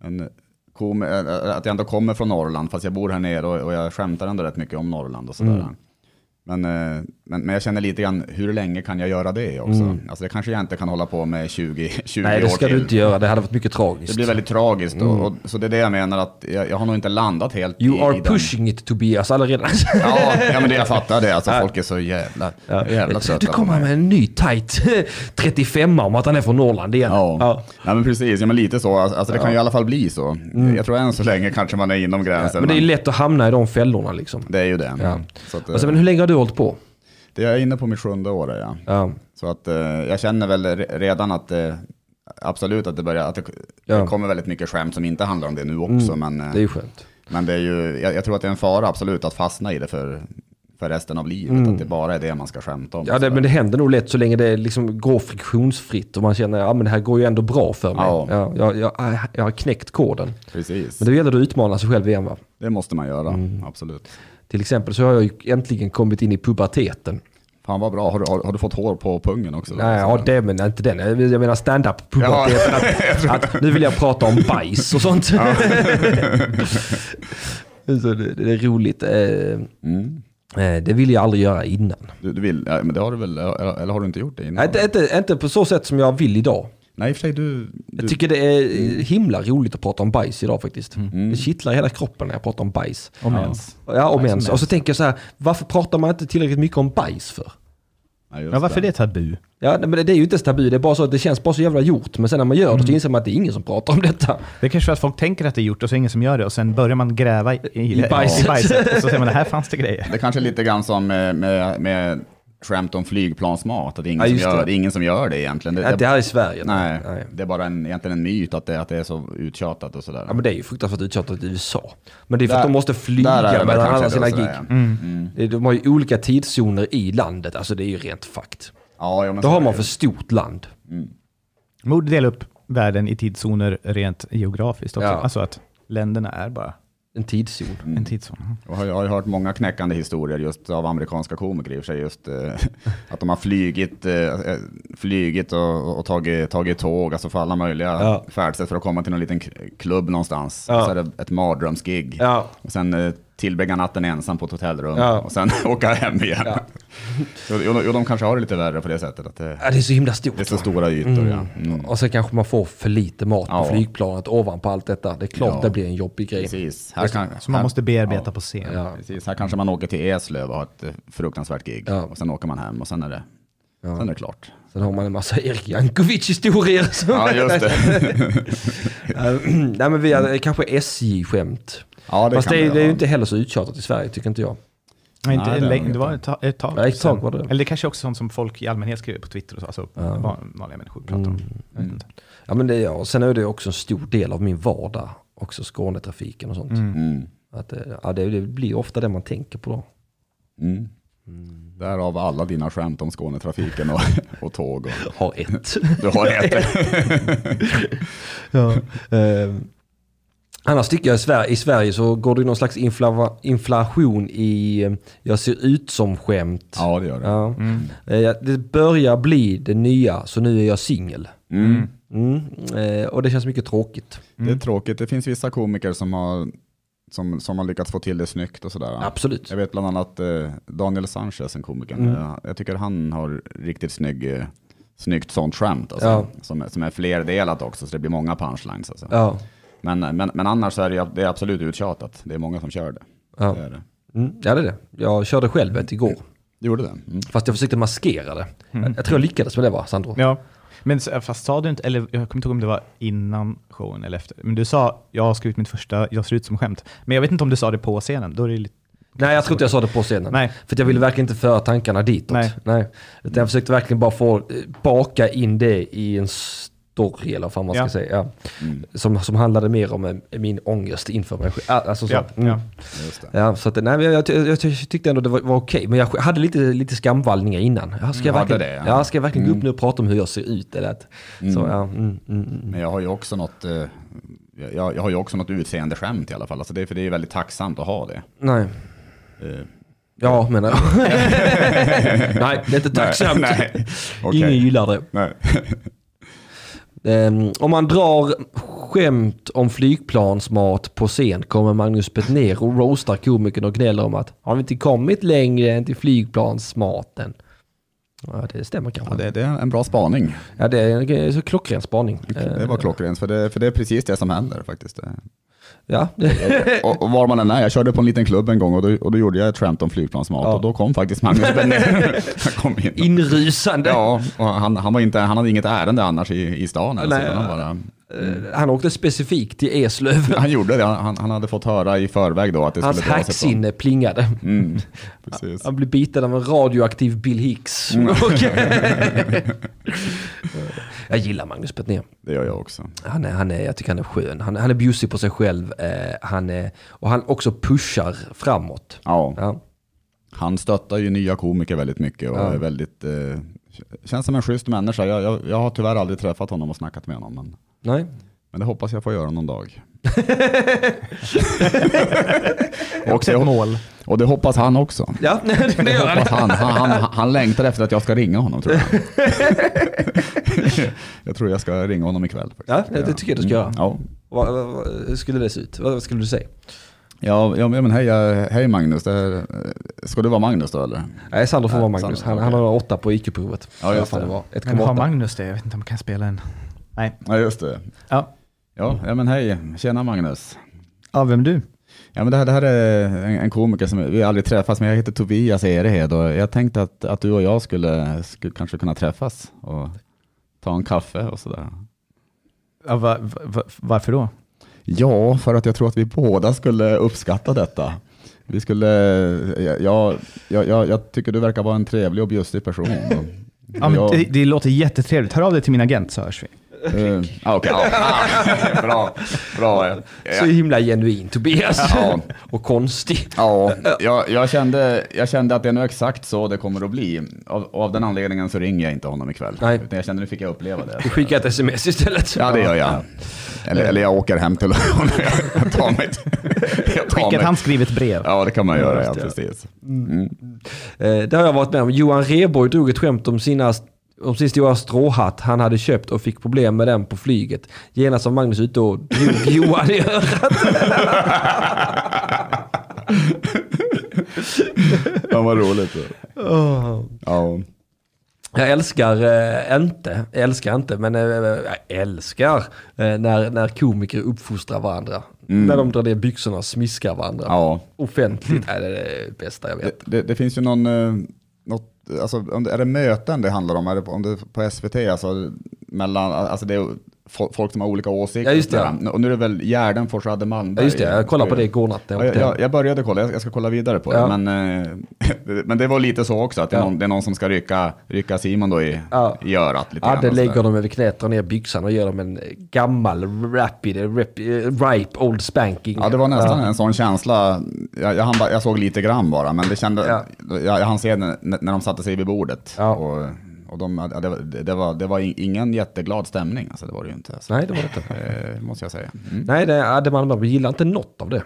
en kom, eh, att jag ändå kommer från Norrland, fast jag bor här nere och, och jag skämtar ändå rätt mycket om Norrland och sådär.
Mm.
Men, eh, men, men jag känner lite grann, hur länge kan jag göra det också? Alltså det kanske jag inte kan hålla på med 20, 20
Mm. Nej, det
år
ska
till.
du inte göra. Det hade varit mycket tragiskt.
Det blir väldigt tragiskt, och, och, så det är det jag menar att jag, jag har nog inte landat helt
You
i,
are
i den-
pushing it Tobias allaredan.
Ja, ja, men det jag fattar det. Alltså, folk är så jävla, jävla trötta
du
på
kommer
mig.
med en ny tight 35 om att han är från Norrland igen.
Ja. Ja. men precis. Ja, men lite så. Alltså, alltså, det kan ju i alla fall bli så. Jag tror än så länge kanske man är inom gränsen.
Mm. Men det är lätt att hamna i de fällorna liksom.
det är ju det.
Ja.
Så att, eh,
Alltså, men hur länge har du hållit på?
Det jag är inne på mitt sjunde år är jag.
Ja.
Så att eh, jag känner väl re- redan att eh, absolut att det börjar, att det,
Ja. Mm.
det kommer väldigt mycket skämt som inte handlar om det nu också. Men, eh,
Det är ju skönt.
men det är ju, jag, jag tror att det är en fara absolut att fastna i det för, för resten av livet. Att det bara är det man ska skämta om.
Mm. Ja, det, men det händer nog lätt så länge det liksom går friktionsfritt och man känner att ja, men det här går ju ändå bra för mig.
Ja.
Ja, jag, jag, jag har knäckt koden.
Precis,
Men Mm. då gäller det att utmana sig själv igen va?
det måste man göra. Absolut.
Till exempel så har jag ju äntligen kommit in i puberteten.
Fan vad bra, har du, har, har du fått hår på pungen också?
Nej, ja det men inte den. Jag menar stand-up
Ja.
puberteten. Att, att nu vill jag prata om bajs och sånt. Så det, det är roligt. Eh,
Mm.
eh, det ville jag aldrig göra innan.
Du, du vill, ja, men det har du väl, eller, eller har du inte gjort det innan?
Nej, inte, inte, inte på så sätt som jag vill idag.
Nej, i och för sig du... du
Jag tycker det är himla roligt att prata om bajs idag faktiskt. Det kittlar i hela kroppen när jag pratar om bajs.
om ens.
Ja, om ens. Och så tänker jag så här, varför pratar man inte tillräckligt mycket om bajs för?
ja, just
Ja, varför är det tabu?
Ja, nej, men det- det är ju inte ens tabu, det är bara så att det känns bara så jävla gjort. Men sen när man gör det så inser man att det är ingen som pratar om detta.
Det är kanske är att folk tänker att det är gjort och så är det ingen som gör det och sen börjar man gräva i, i,
I bajset.
i bajset och så säger man det här fanns det grejer.
Det kanske är lite grann som med, med, med skämt om flygplansmat, att det är
Ja,
ingen,
just
som, gör,
det.
det är ingen som gör det egentligen. Det,
Att det här är Sverige?
Eh, nej,
nej.
det är bara en, egentligen en myt att det, att det är så uttjatat och sådär.
Ja, men det är ju fruktansvärt uttjatat i USA. Men det är för att
Där-
de måste
där är det
flyga
väl
mellan
kanske
alla
då
sina gig.
sådär, ja.
Det- De har ju olika tidszoner i landet, alltså det är ju rent fakt.
Ja, ja,
Då
men så
har
är
man
det
för
ju.
stort land.
Man borde dela upp världen i tidszoner rent geografiskt också.
Ja. Mm.
Alltså att länderna är bara
En tidszon.
Mm.
en tidszon.
Jag har, jag har ju hört många knäckande historier just av amerikanska komiker i och för sig. Just, eh, att de har flygit, eh, eh, flygit och, och tagit, tagit tåg, alltså för alla möjliga
Ja.
färdsätt för att komma till någon liten k- klubb någonstans.
Ja.
Och så är det ett mardrömsgig.
Ja.
Och sen eh, tillbringa natten ensam på ett hotellrum
Ja.
och sen åka hem igen.
Ja.
Jo, jo, jo, de kanske har det lite värre på det sättet. Att det,
Ja, det är så himla stort.
det är så stora ytor. Ja. Mm.
Och sen kanske man får för lite mat på
Ja.
flygplanet ovanpå allt detta. Det är klart
Ja.
det blir en jobbig grej.
Precis. Här kan,
Som man
här-
måste bearbeta
ja.
på scen.
Ja.
Precis, här kanske man åker till Eslöv och har ett eh, fruktansvärt gig.
Ja.
Och sen åker man hem och sen är det, sen är det klart.
Sen har man en massa Erik Jankovic-historier. som-
Ja, just det.
Nej men vi hade kanske SJ-skämt.
Ja, det
Fast
kan
det, är-
det
det är ju
vara.
inte heller så uttjatat i Sverige tycker inte jag.
Nej, inte
Nej, det är
det, länge,
nog
det var ett, ta- ett tag.
Ja, ett tag
sedan.
var det.
Eller det kanske också sånt som folk i allmänhet skriver på Twitter och så. Alltså van- vanliga människor pratar om. Jag vet inte.
Ja men det är jag. Och Sen är det också en stor del av min vardag. Också Skånetrafiken och sånt.
Mm.
Att, eh, ja, det, det blir ofta det man tänker på då.
Mm. Därav alla dina skämt om Skånetrafiken och, och tåg. Och,
Har ett.
du har ett.
Ehm, Annars tycker jag i Sverige, i Sverige så går det ju någon slags inflava, inflation i eh, jag ser ut som skämt.
Ja, det gör det.
Ja. Eh, Det börjar bli det nya, så nu är jag singel.
Mm.
Mm. eh, Och det känns mycket tråkigt.
Det är tråkigt. Det finns vissa komiker som har, som, som har lyckats få till det snyggt och sådär.
Absolut. Mm.
Jag vet bland annat eh, Daniel Sanchez, en komiker. Jag, jag tycker han har riktigt snygg, eh, snyggt sånt skämt. Alltså,
Ja.
som, är- som är flerdelat också, så det blir många punchlines. Alltså.
Ja.
Men, men, men annars så är det, det är absolut uttjatat. Det är många som kör det.
Ja.
det, är det.
Mm. ja, det är det. Jag körde själv ett igår.
Gjorde det? Mm.
Fast jag försökte maskera det. Jag, jag tror jag lyckades med det va, Sandro?
Ja. Men s- fast sa du inte, eller jag kommer inte ihåg om det var innan showen eller efter, men du sa jag har skrivit mitt första jag ser ut som skämt. Men jag vet inte om du sa det på scenen, då är det lite...
Nej, jag tror inte jag sa det på scenen.
Nej.
För att jag ville verkligen inte föra tankarna ditåt.
Nej.
Nej. Utan jag försökte verkligen bara få eh, baka in det i en story, eller vad fan man ska
Ja.
säga. Ja.
Mm.
Som, som handlade mer om eh, min ångest inför mig själv. Ah, Alltså, så.
Ja,
Mm.
ja.
Just det.
Ja, så att, nej, men jag, jag, ty- jag ty- tyckte ändå det var, var okej, men jag sk- hade lite, lite skamvallningar innan. Ja, ska, jag
Mm, hade
verkligen,
det, ja. Mm.
ja. ska jag verkligen gå upp nu och prata om hur jag ser ut? Eller att, så, ja, mm, mm, mm.
Men jag har ju också något, eh, jag, jag har ju också något utseendeskämt i alla fall. Alltså det, för det är ju väldigt tacksamt att ha det.
Nej,
Eh,
ja menar jag. nej, det är inte tacksamt.
Nej, nej. Okej.
Ingen gillar det.
Nej.
Ehm, om man drar skämt om flygplansmat på scen kommer Magnus Petner och roastar komikern och gnäller om att har vi inte kommit längre än till flygplansmaten? Ja, det stämmer
Ja,
kanske.
det, det är en bra spaning.
Ja, det är en- det är en klockren spaning. Eh,
Det var klockrent, för det, för det är precis det som händer faktiskt.
Ja, det,
Och, och var man än är, jag körde på en liten klubb en gång och då, och då gjorde jag ett skämt om flygplansmat
Ja.
och då kom faktiskt Magnus Benner. Han kom in.
inrusande.
Ja, och han, han, var inte, han hade inget ärende annars i, i stan. Eller
Nej.
så, han, bara,
Eh, Han åkte specifikt till Eslöv.
han gjorde det, han, han hade fått höra i förväg då att det
Hans
skulle dra sig på.
hacksinne plingade.
Mm, precis.
Han blev biten av en radioaktiv Bill Hicks. Och- jag gillar Magnus Petner.
Det gör jag också.
Han är, han är, jag tycker han är skön. Han, han är bjussig på sig själv. Eh, han är, och han också pushar framåt.
Ja.
Ja.
Han stöttar ju nya komiker väldigt mycket och
Ja.
är väldigt, eh, känns som en schysst människa. Jag, jag, jag har tyvärr aldrig träffat honom och snackat med honom, men,
Nej.
men det hoppas jag får göra någon dag. och,
Också ett
det,
mål.
och det hoppas han också.
Ja, det gör han.
Hoppas han, han, han, han längtar efter att jag ska ringa honom tror jag. jag tror jag ska ringa honom ikväll. faktiskt. Mm,
Ja, det tycker jag du ska göra.
Ja.
Vad- vad- vad- Hur skulle det se ut? Vad vad skulle du säga?
Ja, ja, men hej, eh, hej Magnus. Det här, eh, ska du vara Magnus då eller?
Nej, Sandro får
Nej,
vara Magnus.
Sandro,
Han, han har åtta på IQ-provet.
Ja, just
Vad fan
det.
var.
Men har
1,8.
Magnus det? Jag vet inte om man kan spela en... Nej.
Ja, just det.
Ja,
Ja, ja men hej. Tjena Magnus.
ja vem är du?
Mm. Ja, men det, här, det här är en, en komiker som vi aldrig träffats, men jag heter Tobias Erehed och jag tänkte att, att du och jag skulle, skulle kanske kunna träffas och ta en kaffe och sådär.
Ja, va, va, va, varför då?
Ja, för att jag tror att vi båda skulle uppskatta detta. Vi skulle, jag, jag, jag, jag tycker du verkar vara en trevlig och bjussig person.
Ja, men det, det låter jättetrevligt. Hör av dig till min agent så hörs vi.
Eh, ah, okej, ja. bra, bra. Ja,
Så himla genuin Tobias.
Ja.
Och konstig.
ja, jag, jag, kände, jag kände att det är nog exakt så det kommer att bli. Av, och av den anledningen så ringer jag inte honom ikväll.
Nej.
Utan jag kände nu fick jag uppleva det.
Du skickar ett sms istället.
Ja, det gör jag. Eller, eller jag åker hem till honom. Jag tar mig jag tar
Skicka ett
mig-
handskrivet brev.
Ja, det kan man göra, ja,
Just det.
precis.
Eh, Det har jag varit med om. Johan Rheborg drog ett skämt om, sina, om sin stora stråhatt han hade köpt och fick problem med den på flyget. Genast var Magnus ute och drog Johan i örat.
Ja, vad roligt. Ja.
Jag älskar eh, inte, jag älskar inte, men eh, jag älskar eh, när, när komiker uppfostrar varandra. När de drar ner byxorna och smiskar varandra.
Mm. ja. Mm.
Offentligt är det det bästa jag vet.
Det, det, det finns ju någon, eh, något, alltså, om det, är det möten det handlar om? Är det, på- om det är på SVT, alltså, mellan, alltså det är fo- folk som har olika åsikter.
Ja, just det.
och sådär. Och nu är det väl Gärdenfors och Adde
Ja,
Malmberg.
just det, jag kollade på det igår natt. när
Ja, Jag,
åkte hem.
jag, jag började kolla, jag ska- jag ska kolla vidare på det.
Ja.
Men, eh, men det var lite så också, att det är,
Ja.
någon, det är någon som ska rycka, rycka Simon då i,
Ja.
i örat. Lite
Ja,
grann
det
och sådär.
lägger de över knät, drar ner byxan och ger dem en gammal rapid, rap, ripe old spanking.
Ja, det var nästan en sån känsla. Jag, jag, hann bara, jag såg lite grann bara, men det kände,
Ja.
jag, jag hann se när, när de satte sig vid bordet.
Ja.
Och, och de, ja, det, var- det, var, det var ingen jätteglad stämning, alltså, det var det ju inte. Så,
Nej, det var det inte.
eh, måste jag säga. Mm.
Nej, det hade man man gillar inte något av det.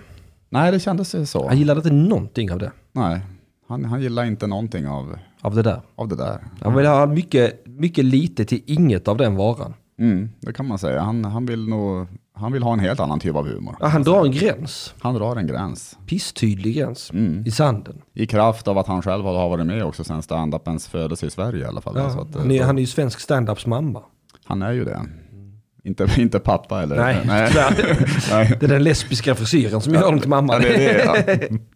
Nej, det kändes ju så.
Han gillade inte någonting av det.
Nej, han, han gillar inte någonting av,
Av det där.
av det där.
Han vill ha mycket, mycket lite till inget av den varan.
Mm, det kan man säga. Han, han, vill nog, han vill ha en helt annan typ av humor.
Ja, han drar en gräns.
Han drar en gräns.
Pisstydlig gräns. I sanden.
I kraft av att han själv har varit med också sen standupens födelse i Sverige i alla fall.
Ja,
Så att, eh,
han, är, han är ju svensk standups mamma.
Han är ju det. Inte, inte pappa eller?
Nej,
Nej.
tyvärr.
Nej.
Det är den lesbiska frisyren som gör honom till mamma.
Ja, det, det, ja.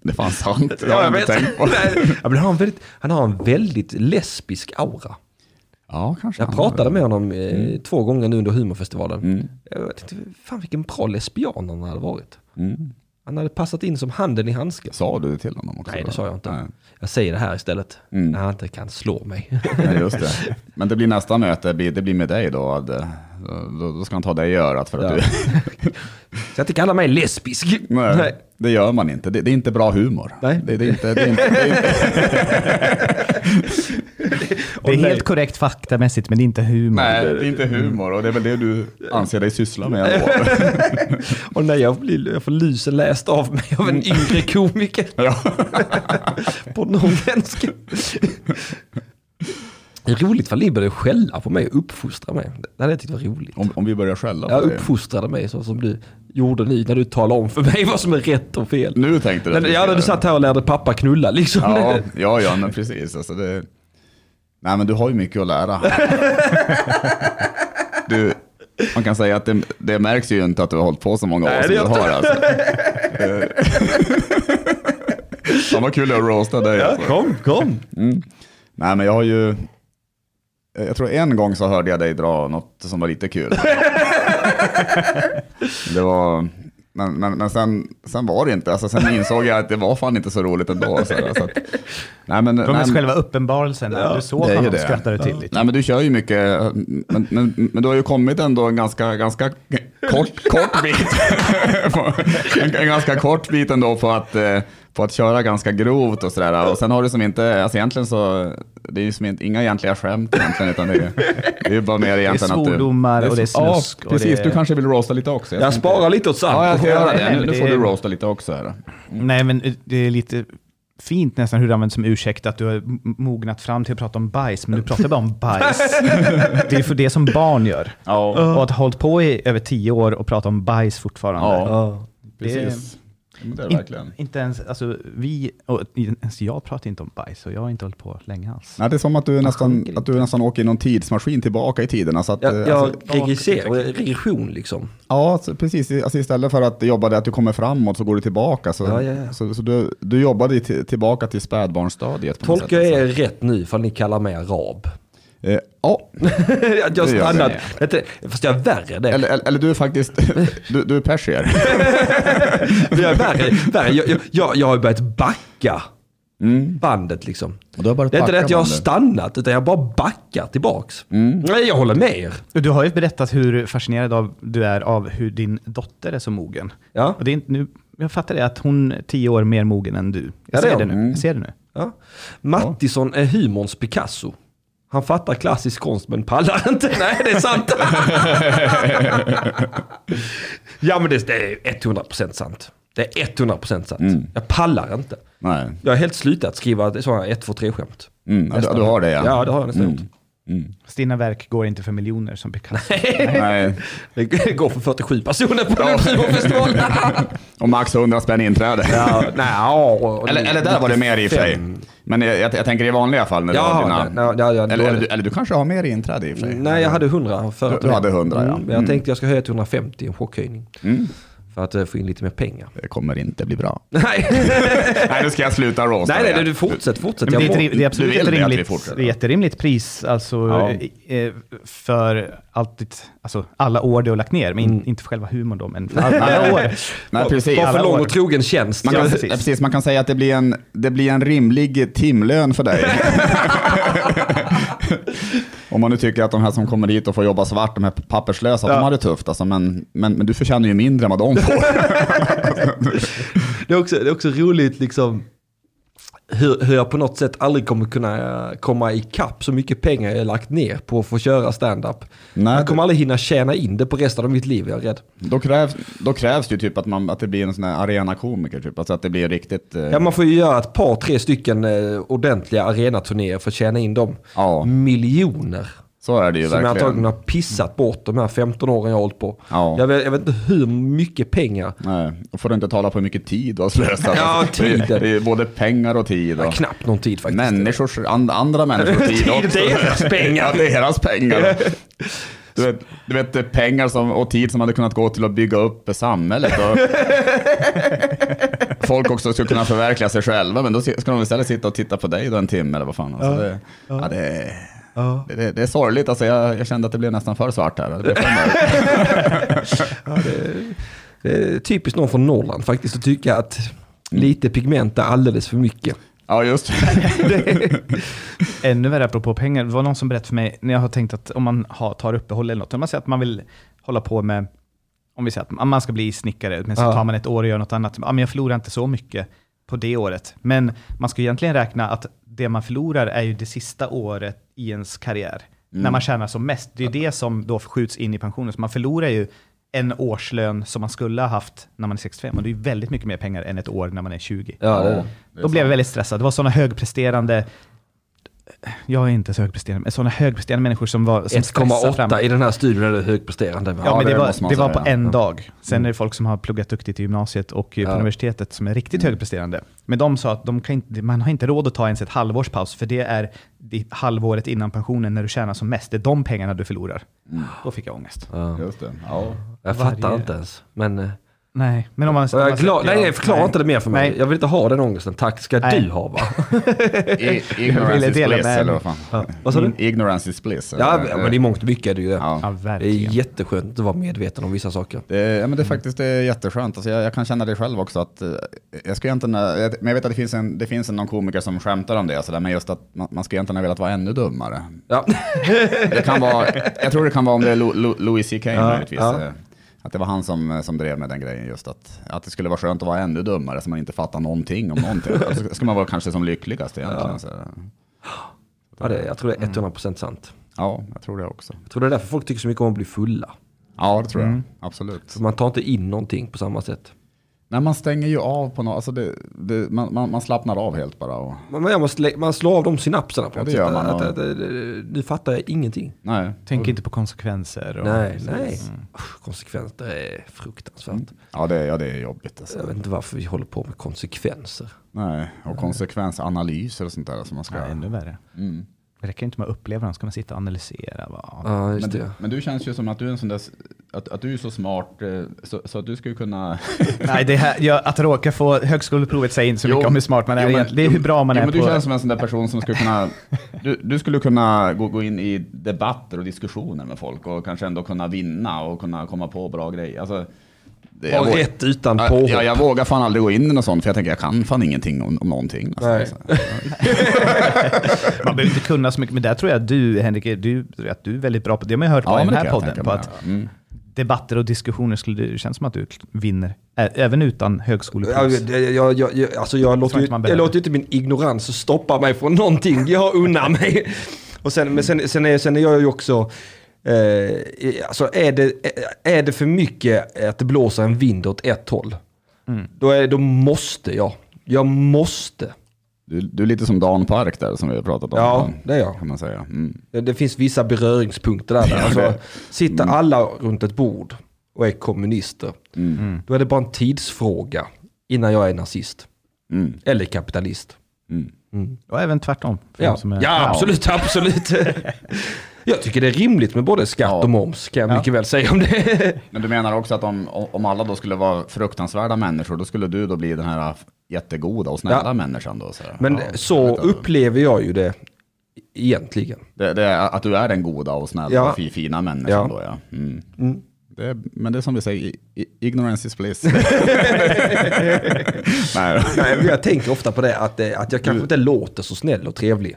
det är fan sant. Det har jag inte tänkt på.
Nej, men han, har en väldigt, han har en väldigt lesbisk aura.
Ja, Mm. kanske.
Jag
han
pratade
har-
med honom eh, två gånger nu under humorfestivalen. Jag tänkte, fan vilken bra lesbian han hade varit.
Mm.
Han hade passat in som handen i handsken.
Sa du det till honom också?
Nej,
då?
det sa jag inte.
Nej. Mm.
Jag säger det här istället. När han inte kan slå mig.
Nej, just det. Men det blir nästa möte, det blir- det blir med dig då. Det- Då, då ska han ta dig i örat för att
Ja.
du...
Så inte kalla mig lesbisk.
Nej, det gör man inte. Det, det är inte bra humor.
Nej.
Det, det, är inte, det, är inte, det, är inte,
Det är
Åh, nej.
helt korrekt faktamässigt, men det är inte humor.
nej, det är inte humor och det är väl det du anser dig syssla med. Då.
Och när jag, blir, jag får lysen läst av mig av en
Mm.
yngre komiker.
Ja.
på norrländska. Det är Roligt för ni började skälla på mig och uppfostra mig. Det hade jag tyckt var roligt.
Om, om vi börjar skälla på
Jag
dig.
uppfostrade mig så som du gjorde nu när du talade om för mig vad som är rätt och fel.
Nu tänkte du att
När,
vi
ja,
Mm. ska-
när du satt här och lärde pappa knulla liksom.
Ja, ja, ja men precis. Alltså det... Nej, men du har ju mycket att lära. Du, man kan säga att det, det märks ju inte att du har hållit på så många år
Nej,
som
det
du
gör
har. Alltså. Eh, Fan vad kul att roasta dig. Alltså.
kom, kom.
Nej, men jag har ju... eh, Jag tror en gång så hörde jag dig dra något som var lite kul. Det var... Men, men, men sen, sen var det inte, alltså, sen insåg jag att det var fan inte så roligt ändå. Så, här, så att, nej, men,
Det var mest
nej,
själva uppenbarelsen. Du såg
det är ju
honom och
det.
skrattade till lite.
Nej men du kör ju mycket, men, men, men du har ju kommit ändå en ganska, ganska kort, kort bit. på- en, en ganska kort bit ändå på att, eh, på att köra ganska grovt och sådär. Och sen har du som inte, alltså egentligen så, det är ju som inte, inga egentliga skämt egentligen utan det är, det är ju bara mer egentligen att du...
svordomar och det är snusk
Ja,
och
precis.
det är-
Du kanske vill roasta lite också.
Jag
tänkte-
sparar lite åt Sam.
Ja, jag ska göra det.
Nej,
Nu,
men
nu
det
får
är-
du roasta lite också här.
Nej, men eh, det är lite fint nästan hur det används som ursäkt att du har m- mognat fram till att prata om bajs, men du pratar bara om bajs. det är för det som barn gör.
Ja,
Och att ha hållit på i över tio år och prata om bajs fortfarande.
ja.
Det är-
precis. Ja, men Det är det
In-
verkligen.
Inte ens, alltså vi, och inte ens jag pratar inte om bajs och jag har inte hållit på länge alls.
Nej, det är som att du, nästan,
sjunker
att du nästan åker i någon tidsmaskin tillbaka i tiderna. Så att,
Jag,
eh,
jag
alltså,
regresserar, regression liksom.
ja, så precis. Alltså istället för att jobba det att du kommer framåt så går du tillbaka. Så,
Ja, ja, ja.
så, så du, du jobbade i t- tillbaka till spädbarnsstadiet. på något
Tolkar
sätt,
jag
alltså.
er rätt nu ifall ni kallar mig arab?
Eh, ja,
jag jag
Det gör
stannade.
det.
Vet du, Fast jag är värre det.
eller, eller, eller du är faktiskt, du, du är persier.
Jag är värre. värre. Jag, jag- jag, jag har ju börjat backa bandet liksom.
Och du Mm. har börjat
det är inte det
backa
att jag har
bandet. Mm.
stannat, utan jag bara backar tillbaks. Nej, jag håller med er.
Du har ju berättat hur fascinerad av, du är av hur din dotter är så mogen.
Ja.
Och det är inte, nu, jag fattar det, att hon är tio år mer mogen än du.
Ja, det
Jag ser
är
det
hon.
nu. Jag ser det nu.
Ja. Mattisson är humorns Picasso. Han fattar klassisk konst men pallar inte. Nej, det är sant. ja, men det, det är 100% sant. Det är 100% sant.
Mm.
Jag pallar inte.
Nej.
Jag har helt slutat skriva sådana 1, 2, 3-skämt.
Mm, ja, du, du har det ja. Mm.
Ja, det har jag nästan gjort.
Fast dina verk går inte för miljoner som Picasso.
Nej.
Det går för 47 personer på den humorfestivalen.
Och max 100 spänn inträde.
ja, nej, ja,
Eller, eller där var det mer i och för sig. Men jag, jag, jag tänker i vanliga fall när du
Jaha,
har dina...
nej, nej, ja, ja, då
eller,
är
eller,
det-
du, eller du kanske har mer i inträde i och för sig.
Mm, Nej, jag hade 100 förut.
Du- du hade 100, ja.
men Mm, jag tänkte jag ska höja till 150, en chockhöjning. För att eh, få in lite mer pengar.
Det kommer inte bli bra.
Nej,
nej, nu ska jag sluta rosta
nej, nej,
dig.
du fortsätt, fortsätt.
Men det, är
Jag må-
ett, rim- det är absolut
du vill det,
ett
att vi
rimligt,
fortsätter?
det är ett rimligt pris alltså, eh, eh, för alltid, alltså, alla år du har lagt ner. Men in, inte för själva humorn då, men för alla, alla år.
Nej, precis.
Bara
alla
Mm. för lång
år.
och trogen tjänst.
Man
Ja,
kan,
precis.
precis. Precis, man kan säga att det blir en, det blir en rimlig timlön för dig. Om man nu tycker att de här som kommer hit och får jobba svart, de här papperslösa, de har det tufft alltså, men, men, men du förtjänar ju mindre än vad de får.
Det är också, det är också roligt liksom hur, hur jag på något sätt aldrig kommer kunna eh, komma ikapp så mycket pengar jag har lagt ner på att få köra stand-up.
Nej,
jag kommer
det-
aldrig hinna tjäna in det på resten av mitt liv, jag är rädd.
Då krävs, då krävs det ju typ att, man, att det blir en sån här arenakomiker, typ. alltså att det blir riktigt... eh,
Ja, man får ju göra ett par, tre stycken eh, ordentliga arenaturnéer för att tjäna in de
Ja.
miljoner
så är det ju
som jag antagligen
verkligen.
har pissat bort de här 15 åren jag har hållit på.
Ja.
Jag, vet, jag vet inte hur mycket pengar,
Nej, då får du inte tala på hur mycket tid du har slösat.
Ja,
Det är-
tiden.
Det är ju både pengar och tid. Och
knappt någon tid faktiskt.
människors, and, andra människors tid också.
Deras pengar.
Ja, deras pengar. Du vet, du vet det är pengar som, och tid som hade kunnat gå till att bygga upp samhället. Och folk också skulle kunna förverkliga sig själva, men då si- ska de istället sitta och titta på dig då en timme eller vad fan. Alltså, det, ja, det, är- det, det, det är sorgligt, alltså, jag, jag kände att det blev nästan för svart här. Det blev för mörkt.
Det är typiskt någon från Norrland faktiskt att tycka att lite pigment är alldeles för mycket.
Ja, just
Ännu värre apropå pengar, det var någon som berättade för mig när jag har tänkt att om man har, tar uppehåll eller något, om man säger att man vill hålla på med, om vi säger att man ska bli snickare, men så
Ja.
tar man ett år och gör något annat, ja, men jag förlorar inte så mycket på det året. Men man ska egentligen räkna att det man förlorar är ju det sista året i ens karriär,
Mm.
när man tjänar som mest. Det är ju det som då skjuts in i pensionen, så man förlorar ju en årslön som man skulle ha haft när man är 65. Och det är ju väldigt mycket mer pengar än ett år när man är 20.
Ja, det-
Då blev jag väldigt stressad. Det var sådana högpresterande, jag är inte så högpresterande, men sådana högpresterande människor som var som stressar fram.
1,8 i den här studion är det högpresterande.
Ja, men det,
det måste man
var, det var
säga,
på
ja.
en dag. Sen
Mm.
är det folk som har pluggat duktigt i gymnasiet och eh, på universitetet som är
Mm.
riktigt högpresterande. Men de sa att de kan inte, man har inte råd att ta ens ett halvårs paus, för det är det halvåret innan pensionen när du tjänar som mest. Det är de pengarna du förlorar.
Mm.
Då fick jag ångest.
Just det. Ja.
jag fattar
varje-
inte ens. Men, eh,
Nej, men om man...
och
om
jag är
man
glad,
släpper-
nej, förklara
Nej.
inte det mer för mig.
Nej.
Jag vill inte ha den ångesten. Tack ska
Nej.
du ha va?
I,
Jag
ignorance
ville
is
dela
bliss,
med
eller
mig.
vad fan. Mm,
Vad sa du?
Ignorance is bliss. eller?
Ja, men i mångt och mycket är det ju det.
Ja.
Ja,
Det är
verkligen.
jätteskönt att vara medveten om vissa saker.
Det är, ja, men det
Mm.
är faktiskt det är jätteskönt. Alltså, jag, jag kan känna det själv också. Att, eh, jag ska egentligen, eh, jag- men jag vet att det finns, en, det finns en, någon komiker som skämtar om det, så där, men just att man, man ska egentligen ha velat vara ännu dummare.
Ja.
Det kan vara, jag tror det kan vara om det är Lo- Lo- Louis CK möjligtvis.
ja.
eh, Att det var han som, eh, som drev med den grejen just att, att det skulle vara skönt att vara ännu dummare så man inte fattar någonting om någonting. Alltså, ska man vara kanske som lyckligast egentligen. Ja. Så,
Ja, det, jag tror det är
Mm.
100% sant.
ja, jag tror det också.
Jag tror det är därför folk tycker så mycket om att bli fulla.
Ja, det tror
Mm.
jag. Absolut.
För man tar inte in någonting på samma sätt.
Nej, man stänger ju av på något, alltså det, det, man, man, man slappnar av helt bara. Och,
Man, man, måste lä- man slår av de synapserna på
Ja,
något
det
sätt.
gör man,
Att,
ja.
att, att, nu fattar jag ingenting.
nej.
Tänk inte på konsekvenser. Och
Nej, nej.
Mm.
Usch, Konsekvenser är fruktansvärt.
Ja det, ja, det är jobbigt. Alltså.
Jag vet inte varför vi håller på med konsekvenser.
Nej, och konsekvensanalyser och sånt där som man ska... Mm.
Ja, ännu värre. Det räcker inte med att uppleva dem, ska man sitta och analysera. Vad,
Ja, just
men,
det.
du, men du känns ju som att du är en sån där s- att, att du är så smart eh, så, så att du skulle kunna...
Nej, det här, jag, att råka få högskoleprovet säger inte så
Jo.
mycket om hur smart man är.
Jo, men-
egentligen. det är hur bra man
jo,
är
men du
på...
känns som en sån där person som skulle kunna... Du, du skulle kunna gå, gå in i debatter och diskussioner med folk och kanske ändå kunna vinna och kunna komma på bra grejer. Alltså, det- jag
Och
vågar-
rätt utan
Ja,
påhopp.
ja, jag vågar fan aldrig gå in i något sånt för jag tänker jag kan fan ingenting om, om någonting. Alltså,
Nej.
alltså.
Man behöver inte kunna så mycket, men där tror jag du, Henrik, du, att du är väldigt bra på det. Det har man ju hört
Ja,
på
men
i den
det
här
kan jag
podden.
tänka
På
mig,
att
ja. Mm.
Debatter och diskussioner skulle det känns som att du vinner, ä- även utan
Jag,
högskoleprovet.
jag, jag, jag, alltså jag, låter ju,
inte man
jag
behöver.
låter ju inte min ignorans stoppa mig från någonting. Jag unnar mig. Och sen, men sen, sen, är, sen är jag ju också... Eh, alltså är det, är det för mycket att det blåser en vind åt ett håll, då, är, då måste jag. Jag måste.
Du, du är lite som Dan Park där som vi har pratat om.
Ja, det är jag.
Kan man säga. Mm.
Det, det finns vissa beröringspunkter där. alltså, sitter alla runt ett bord och är kommunister, då är det bara en tidsfråga innan jag är nazist.
Mm.
Eller kapitalist.
Och även tvärtom. för
Ja,
de som är-
ja absolut, absolut. Jag tycker det är rimligt med både skatt
Ja.
och moms, kan jag
Ja.
mycket väl säga om det.
Men du menar också att om, om alla då skulle vara fruktansvärda människor, då skulle du då bli den här jättegoda och snälla
Ja.
människan då? Så här.
Men
Ja, jag
så
vet inte.
upplever jag ju det egentligen.
Det, det är att du är den goda och snälla
Ja.
och fi- fina människan
Ja.
då ja. Mm. Det är, men det är som vi säger, i- i- ignorance is bliss. Nej, då.
Nej, men jag tänker ofta på det, att, eh, att jag kanske inte låter så snäll och trevlig.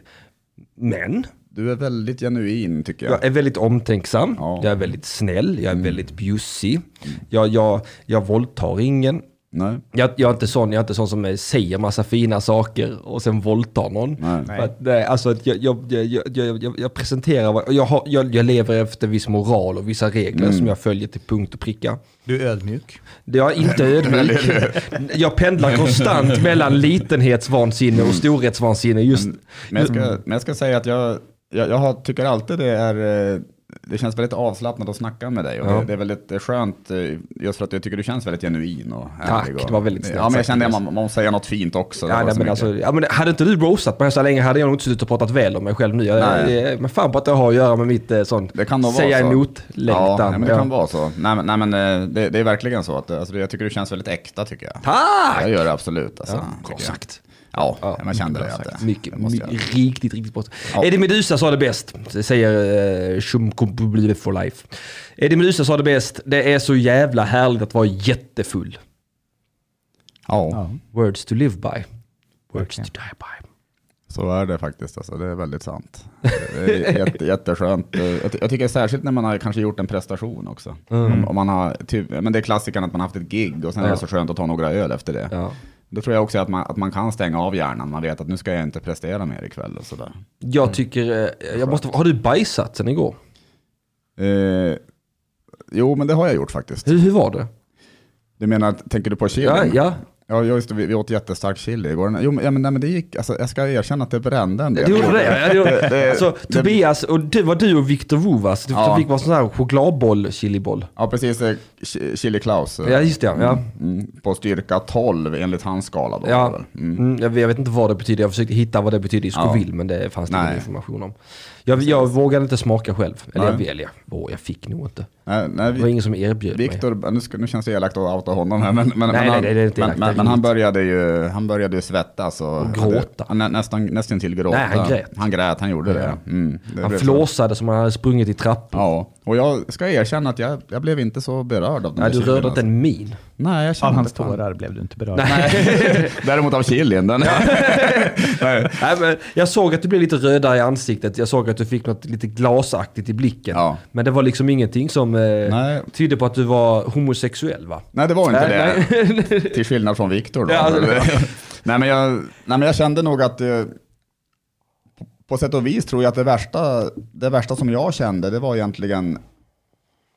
Men
du är väldigt genuin tycker jag.
jag är väldigt omtänksam,
Ja. Mm.
jag är väldigt snäll, jag är väldigt bjussig. Jag, jag, jag våldtar ingen.
Nej.
Jag, jag, är inte sån, jag är inte sån som eh, säger massa fina saker och sen våldtar någon.
Nej.
För Att, nej, alltså, att jag, jag, jag, jag, jag- jag, jag presenterar, vad- och jag, har, jag, jag lever efter viss moral och vissa regler
Mm.
som jag följer till punkt och pricka.
Du är ödmjuk.
Jag är inte ödmjuk. jag pendlar konstant mellan litenhetsvansinne och storhetsvansinne. Just,
Men jag ska,
Mm.
men jag ska säga att jag, jag, jag har, tycker alltid det är eh, det känns väldigt avslappnat att snacka med dig och
Ja.
det, det är väldigt eh, skönt eh, just för att jag tycker du känns väldigt genuin och
Tack,
ärlig och,
det var väldigt snällt
Ja, men
sagt,
jag kände att
Andreas.
man, man måste säga något fint också. Det
ja,
var
nej,
så
men
mycket.
alltså, ja, men hade inte du roastat mig så länge hade jag nog inte suttit och pratat väl om mig själv nu. Jag,
Nej.
eh, men fan på att det har att göra med mitt eh, sånt,
det kan nog
säga
vara så.
emot-längtan.
Ja, nej, men det
Ja.
kan vara så. Nej, men, nej, men eh, det, det är verkligen så att eh, alltså, jag tycker du känns väldigt äkta tycker jag.
Tack!
Jag gör det absolut. Alltså, tycker
Bra
jag.
sagt.
Ja,
Ja,
man kände det. Att, det-
Mycket,
det måste jag göra.
mycket- riktigt, riktigt bra.
Ja.
Eddie Meduza sa det bäst, det säger eh, Shumkumbubule for life. Eddie Meduza sa det bäst, det är så jävla härligt att vara jättefull.
Ja,
Words to live by, words to die by.
så är det faktiskt. Alltså, det är väldigt sant. Det är jätte, jätteskönt. Eh, Jag, ty- jag tycker särskilt när man har kanske gjort en prestation också. Om, om man har, typ, men det är klassikern att man har haft ett gig och sen är
Mm. Ja.
det så skönt att ta några öl efter det.
Ja.
Då tror jag också att man, att man kan stänga av hjärnan. Man vet att nu ska jag inte prestera mer ikväll och sådär. Mm.
Jag tycker, eh, jag måste, har du bajsat sen igår?
Eh, jo, men det har jag gjort faktiskt.
Hur, hur var det?
Du menar, tänker du på chilin?
Ja, ja.
Ja, just det, vi, vi åt jättestark chili igår. Jo, men, ja, men, nej, men det gick, alltså, jag ska erkänna att det brände en del.
Du gjorde det? Ja, det gjorde.
det-
alltså, Tobias, och det var du och Viktor Vuvas. Du
Ja.
fick vara sån här chokladboll, chiliboll.
Ja, precis. eh, Chi- Chili Klaus. eh,
Ja, just det. Ja.
Mm, på styrka 12 enligt hans skala då.
Ja,
väl? Mm.
mm. jag, jag vet inte vad det betyder. Jag försökte hitta vad det betyder i Scoville, men det fanns det ingen
Nej.
information om. Jag, jag vågade inte smaka själv. Eller jag,
Nej.
eller jag, åh, jag fick nog inte.
Nej, nej,
Det var
vi,
ingen som erbjöd mig.
Viktor, nu, ska- nu känns det elakt att outa honom här, men, men, men,
nej,
han-
nej, det är inte
men,
elakt, det
men,
är
men han,
roligt.
började ju, han började ju svettas. Och,
Och gråta.
Hade, nä, nästan, nästan till gråta.
Nej, han grät.
Han grät, han gjorde det. Mm, det
Han
blev så.
flåsade som om han hade sprungit i trappor.
Ja, och jag ska erkänna att jag, jag blev inte så berörd av den
Nej,
där
du
chilin,
rörde inte
alltså.
en min.
Nej, jag
Av
kände
hans
inte fan-
tårar blev du inte berörd.
Nej, däremot av chilin. Den,
Nej, men jag såg att du blev lite rödare i ansiktet. Jag såg att du fick något lite glasaktigt i blicken.
Ja.
Men det var liksom ingenting som eh,
Nej.
tydde på att du var homosexuell va?
Nej, det var inte
Nej,
det. Till skillnad från Viktor då.
Ja, alltså,
Men- nej, men jag, nej, men jag kände nog att eh, på- på sätt och vis tror jag att det värsta, det värsta som jag kände, det var egentligen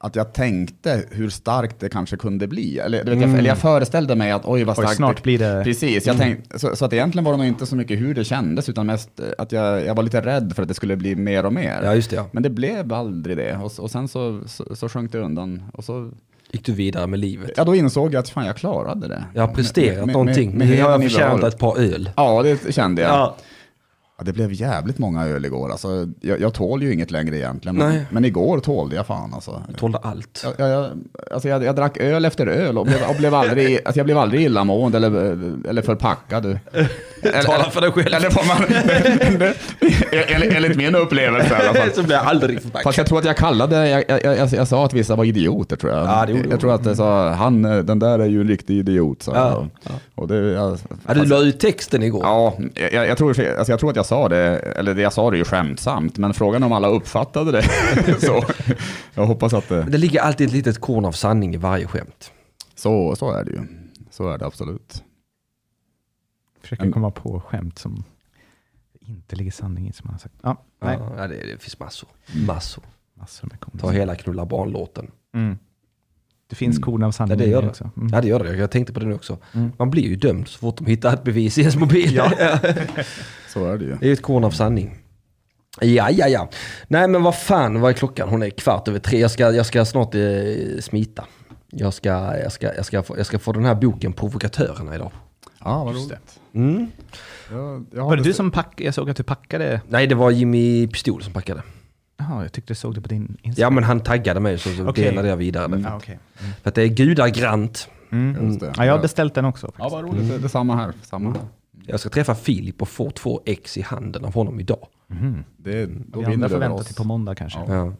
att jag tänkte hur starkt det kanske kunde bli. Eller, du vet, jag, eller jag föreställde mig att oj vad
Mm. Oj,
starkt
snart blir det- Mm.
Precis, jag tänkte, så, så att egentligen var det nog inte så mycket hur det kändes, utan mest eh, att jag, jag var lite rädd för att det skulle bli mer och mer.
Ja, just det, ja.
Men det blev aldrig det, och, s- och sen så, så, så sjönk det undan. Och så
Gick du vidare med livet?
Ja, då insåg jag att fan, jag klarade det.
Jag har presterat
med- med-
någonting.
med
Nu har jag
hedern i
förtjänat
behåll.
ett par öl.
Ja, det kände jag. Ja, det blev jävligt många öl igår. Alltså, jag, jag tål ju inget längre egentligen.
Nej.
Men, men igår tålde jag fan alltså.
Tålde allt.
Jag, jag, jag, alltså jag, jag drack öl efter öl och, blev, och blev aldrig, alltså jag blev aldrig illamående eller, eller förpackad. du. Eller-
Tala för dig själv.
Eller får man, enligt, enligt min upplevelse i alla fall.
Så blir jag aldrig förpackad.
Fast jag tror att jag kallade, jag, jag, jag, jag, jag sa att vissa var idioter tror jag.
Ja, det gjorde du.
jag tror att jag sa, han, eh, den där är ju en riktig idiot. Så.
Ja,
Och det, jag,
Ja, du la ut texten igår.
Ja, jag, jag, tror, alltså jag tror att jag sa det, eller det jag sa det ju skämtsamt, men frågan om alla uppfattade det. så, jag hoppas att eh, det,
Det ligger alltid ett litet korn av sanning i varje skämt.
så, så är det ju. Så är det absolut.
Försöker komma på skämt som inte ligger sanning i som han har sagt. Ja, nej.
Ja, det, det finns massor. Massor.
Massor med
Ta
komiskt.
hela knulla barn-låten.
Mm. Det finns
Mm.
korn av
Ja,
sanning
det
i
gör det. Mm.
också. Mm.
Ja, det gör det. Jag tänkte på den också. Man blir ju dömd så fort de hittar ett bevis i ens mobil.
Så är det ju.
Det är ju ett korn av sanning. Ja, ja, ja. Nej, men vad fan, vad är klockan? Hon är kvart över tre. Jag ska, jag ska snart eh, smita. Jag ska, jag, ska, jag, ska få, jag ska få den här boken Provokatörerna idag.
Ja, vad roligt. Jag, jag har
Var det du
beställt-
som packade? Jag såg att du packade.
Nej, det var Jimmy Pistol som packade.
Jaha, jag tyckte jag såg det på din
Ja,
Instagram.
men han taggade mig så, så
Okej. Mm.
delade jag vidare. det.
Ja, okej.
För att det är gudagrant.
Just det.
ja, jag har beställt den också.
Ja, vad roligt. Det, det är samma här. Samma här.
Jag ska träffa Filip och få två ex i handen av honom idag.
Det, då
Vi
vinner
andra
du
får
över
vänta till
oss.
på måndag kanske.
Ja.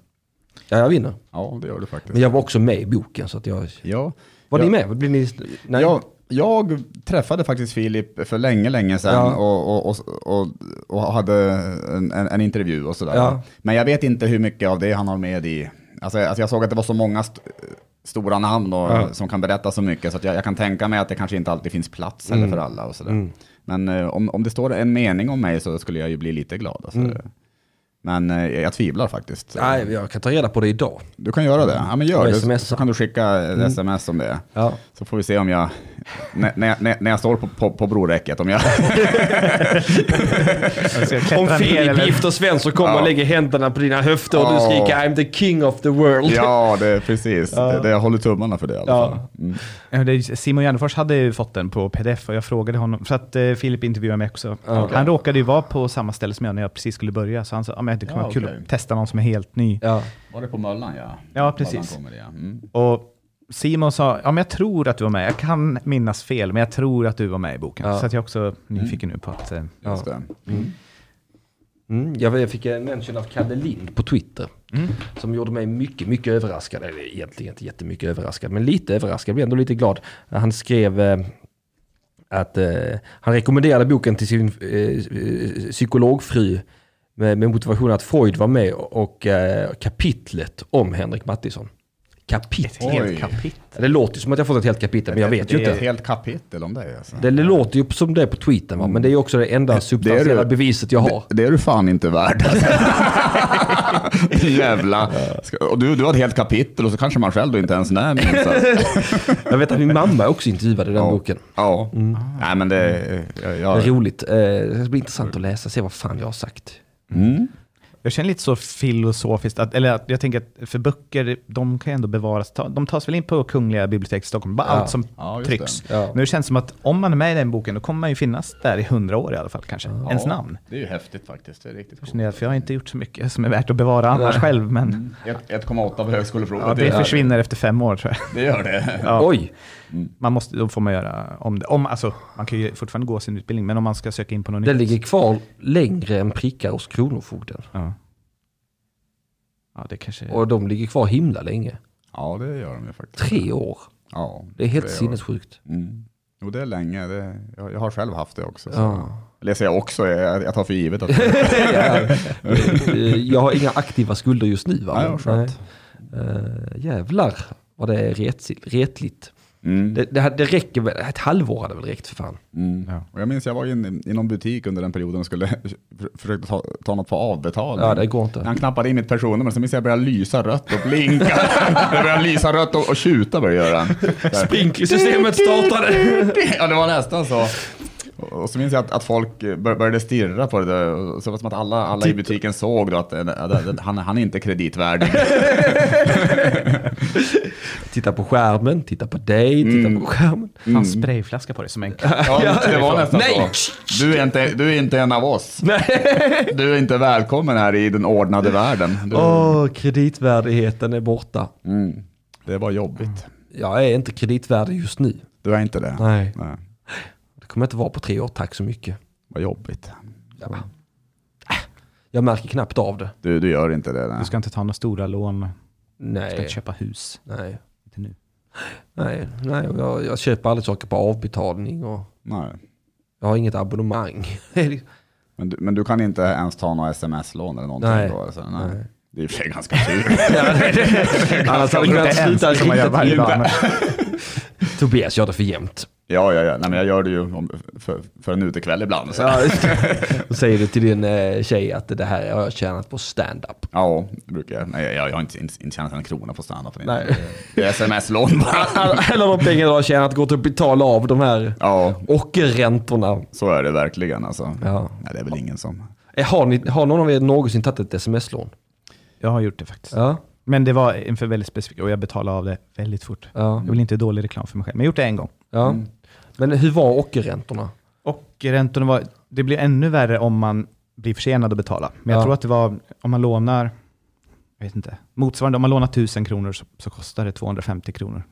ja, jag vinner.
Ja, det gör du faktiskt.
Men jag var också med i boken så att jag...
Ja.
Var
ja.
ni med? Blir ni... Nej.
Jag, jag träffade faktiskt Filip för länge, länge sedan
Ja.
och, och, och, och, och hade en, en, en intervju och sådär.
Ja.
Men jag vet inte hur mycket av det han har med i. Alltså, alltså jag såg att det var så många st- stora namn och,
Ja.
som kan berätta så mycket så att jag, jag kan tänka mig att det kanske inte alltid finns plats
Mm.
heller för alla och sådär. Men eh, om, om det står en mening om mig så skulle jag ju bli lite glad. Alltså. Men eh, jag tvivlar faktiskt. Så
Mm. Nej, jag kan ta reda på det idag.
Du kan göra det. Ja, men
Och
gör det.
smsa.
Så, så kan du skicka ett sms om det.
Ja.
Så får vi se om jag, när, när, när- när jag står på, på, på broräcket, om jag...
Jag ska klättra
Om
ner
Filip
eller-
gifter Svensson kommer
Ja.
och lägger händerna på dina höfter och du
Ja.
skriker I'm the king of the world.
ja, det är precis. Det, det, jag håller tummarna för det i alla
Ja.
fall. Mm.
Ja, det är- Simon Gärdenfors hade ju fått den på pdf och jag frågade honom, för att eh, Filip intervjuade mig också. Han råkade ju vara på samma ställe som jag när jag precis skulle börja, så han sa att det kan
Ja,
vara kul
okej.
att testa någon som är helt ny.
Ja.
Var det på Möllan ja?
Ja, precis.
Möllan kommer det, ja. Mm.
Och Simon sa, ja men jag tror att du var med, jag kan minnas fel, men jag tror att du var med i boken.
Ja.
Så att jag är också nyfiken nu på att... Eh,
Just det.
Mm, jag jag fick en mention av Kalle Lind på Twitter. Som gjorde mig mycket, mycket överraskad. Eller egentligen inte jättemycket överraskad, men lite överraskad. Jag blev ändå lite glad. Han skrev eh, att eh, han rekommenderade boken till sin eh, eh, psykologfru med, med motivation att Freud var med och eh, kapitlet om Henrik Mattisson. Kapitel.
Oj.
Helt kapitel.
Det låter ju som att jag fått ett helt kapitel, men jag vet ju
Det är
inte.
ett helt kapitel om det. Alltså.
Det låter ju som det på tweeten va? men det är ju också det enda substantiella
det.
beviset jag har.
Det, det är du fan inte värd. Jävla. Ska- Och du, du har ett helt kapitel och så kanske man själv då inte ens nämns.
Jag vet att min mamma också intervjuade den boken.
Ja. Nej men det... Jag,
Det är
jag,
Mm. roligt. Eh, Det ska bli intressant att läsa, se vad fan jag har sagt.
mm.
Jag känner lite så filosofiskt, att, eller att jag tänker att för böcker, de kan ju ändå bevaras. Ta, de tas väl in på Kungliga biblioteket i Stockholm, bara
Ja.
allt som
Ja, just
trycks.
det.
Ja.
Nu känns det som att om man är med i den boken, då kommer man ju finnas där i hundra år i alla fall kanske. Ens namn.
Det är ju häftigt faktiskt. Det är riktigt coolt.
Känner jag, För jag har inte gjort så mycket som är värt att bevara annars själv, men
Ett- 1,8 på högskoleprovet.
ja, det
är-
försvinner efter fem år tror jag.
Det gör det.
Oj!
Man måste, då får man göra om det. Om, alltså, man kan ju fortfarande gå sin utbildning, men om man ska söka in på någon
Den
nytt-
ligger kvar längre än prickar hos Kronofogden.
Ja. ja, det kanske...
Och de ligger kvar himla länge.
Ja, det gör de ju faktiskt.
Tre år.
Ja,
Det är helt
tre år.
sinnessjukt.
Mm. Jo, det är länge. Det, jag, jag har själv haft det också. Så.
Ja.
Eller jag säger också, jag, jag tar för givet att det
Eh, Jag har inga aktiva skulder just nu va?
Nej, vad skönt.
Nej. Eh, jävlar vad det är retsil- retligt.
mm.
Det, det, här- det räcker väl, ett halvår hade väl räckt för fan.
Mm. Och jag minns jag var in, i någon butik under den perioden och skulle för- försöka ta, ta något på avbetalning.
Ja, det går inte.
När Han knappade in mitt personnummer, så minns jag att jag började lysa rött och blinka. jag började lysa rött och, och tjuta började jag göra. Där.
Sprinklersystemet startade.
Ja, det var nästan så. Och och så minns jag att, att folk bör- började stirra på det där. Och Så var det som att alla, alla i butiken såg då att eh, att- att han, han är inte kreditvärdig.
Titta på skärmen, titta på dig, titta
Mm.
på skärmen.
Han sprayflaska på dig som en
Ja, det var nästan
Nej!
så. Du är, inte, du är inte en av oss. Du är inte välkommen här i den ordnade världen. Du,
Åh, kreditvärdigheten är borta.
mm, det var jobbigt.
Jag är inte kreditvärdig just nu.
Du är inte det.
Nej.
Nej.
Det kommer inte vara på tre år, tack så mycket.
Vad jobbigt.
Jag, bara, "Äh, jag märker knappt av det.
Du, du gör inte det. Nej.
Du ska inte ta några stora lån, du ska
Nej,
inte köpa hus.
nej,
Inte nu.
nej, nej. och Jag, jag köper aldrig saker på avbetalning och
Nej.
jag har inget abonnemang. liksom-
Men, du, men du kan inte ens ta några sms-lån eller någonting
Nej.
då? Alltså, nej.
Nej.
Det är i och för sig ganska tur.
Annars hade jag kunnat sluta
man gör varje
riktigt.
dag. men-
Tobias gör det för jämt.
Ja, ja, ja. Nej, men jag gör det ju om, för, för en utekväll ibland. Så. Ja.
Och säger du till din eh, tjej att det här har jag tjänat på stand-up.
det brukar jag. Nej, jag, jag har inte, inte, inte tjänat en krona på standup.
Nej.
Det är sms-lån bara.
Alla de pengar du har tjänat går till att betala av de här
Ja,
ockerräntorna.
så är det verkligen alltså.
Ja.
Nej, det är väl ingen som...
Eh, Har, ni, har någon av er någonsin tagit ett sms-lån?
Jag har gjort det faktiskt.
Ja.
Men det var en för väldigt specifik, och jag betalade av det väldigt fort.
Ja.
Jag vill inte dålig reklam för mig själv, men jag har gjort det en gång.
ja. Men hur var ockerräntorna?
Och räntorna var, det blir ännu värre om man blir försenad att betala. Men jag
Ja.
tror att det var, om man lånar, jag vet inte, motsvarande, om man lånar 1000 kronor så, så kostar det 250 kronor.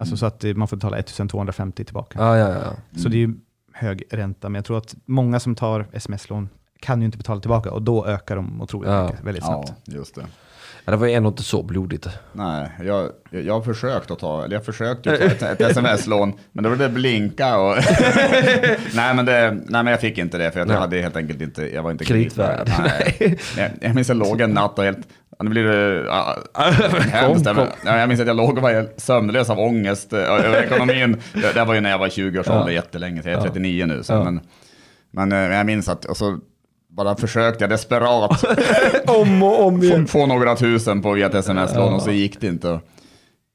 Alltså så att eh, man får betala 1250 tillbaka.
Ja, ja, Mm. ja.
Så det är ju hög ränta, men jag tror att många som tar sms-lån kan ju inte betala tillbaka och då ökar de otroligt
Ja.
mycket, väldigt
Ja,
snabbt.
just det.
ja det var ju ändå inte så blodigt.
Nej, jag, jag jag har försökt att ta, eller jag försökte ju ta ett, ett sms-lån, men då var det blinka och... nej, men det, nej, men jag fick inte det, för jag
Nej.
hade helt enkelt inte, jag var inte
Kreditvärd.
Nej. Jag, jag minns jag låg en natt och helt, nu blir det ah, hemskt.
Kom,
men- Nej, jag minns att jag låg och var helt sömnlös av ångest eh, över ekonomin. Det, det var ju när jag var 20 års ålder, jättelänge, så jag är 39 nu. Så,
Ja.
men, men eh, jag minns att, och så bara försökte jag desperat
Om och om
få, få några tusen på via ett sms-lån och så gick det inte. Och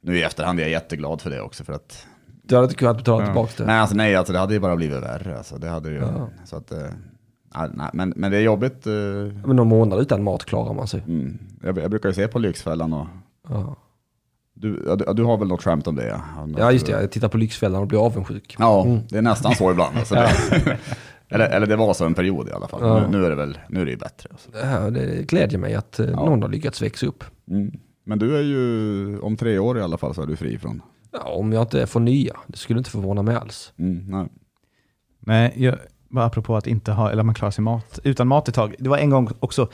Nu i efterhand är jag jätteglad för det också. För att,
Du hade inte kunnat betala tillbaka det.
nej, alltså, nej alltså, det hade ju bara blivit värre. Alltså, det hade ju, så att, eh, ja, nej, men, men det är jobbigt. eh,
Men någon månad utan mat klarar man sig.
Mm. Jag, jag brukar ju se på Lyxfällan och
Ja,
du, ja, du, ja, du har väl något skämt om det? Ja, Något-
ja just det. Mm. Jag tittar på Lyxfällan och blir avundsjuk.
Ja, det är nästan så ibland. Alltså, det, eller, eller det var så en period i alla fall.
Ja.
Nu, nu är det väl nu är det ju bättre. Alltså.
Det, här, det glädjer mig att eh, någon har lyckats växa upp.
Mm. Men du är ju, om tre år i alla fall så är du fri från...
Ja, om jag inte får nya. Det skulle inte förvåna mig alls.
Mm, nej.
Nej, jag, bara apropå att inte ha, eller man klarar sig mat, utan mat ett tag. Det var en gång också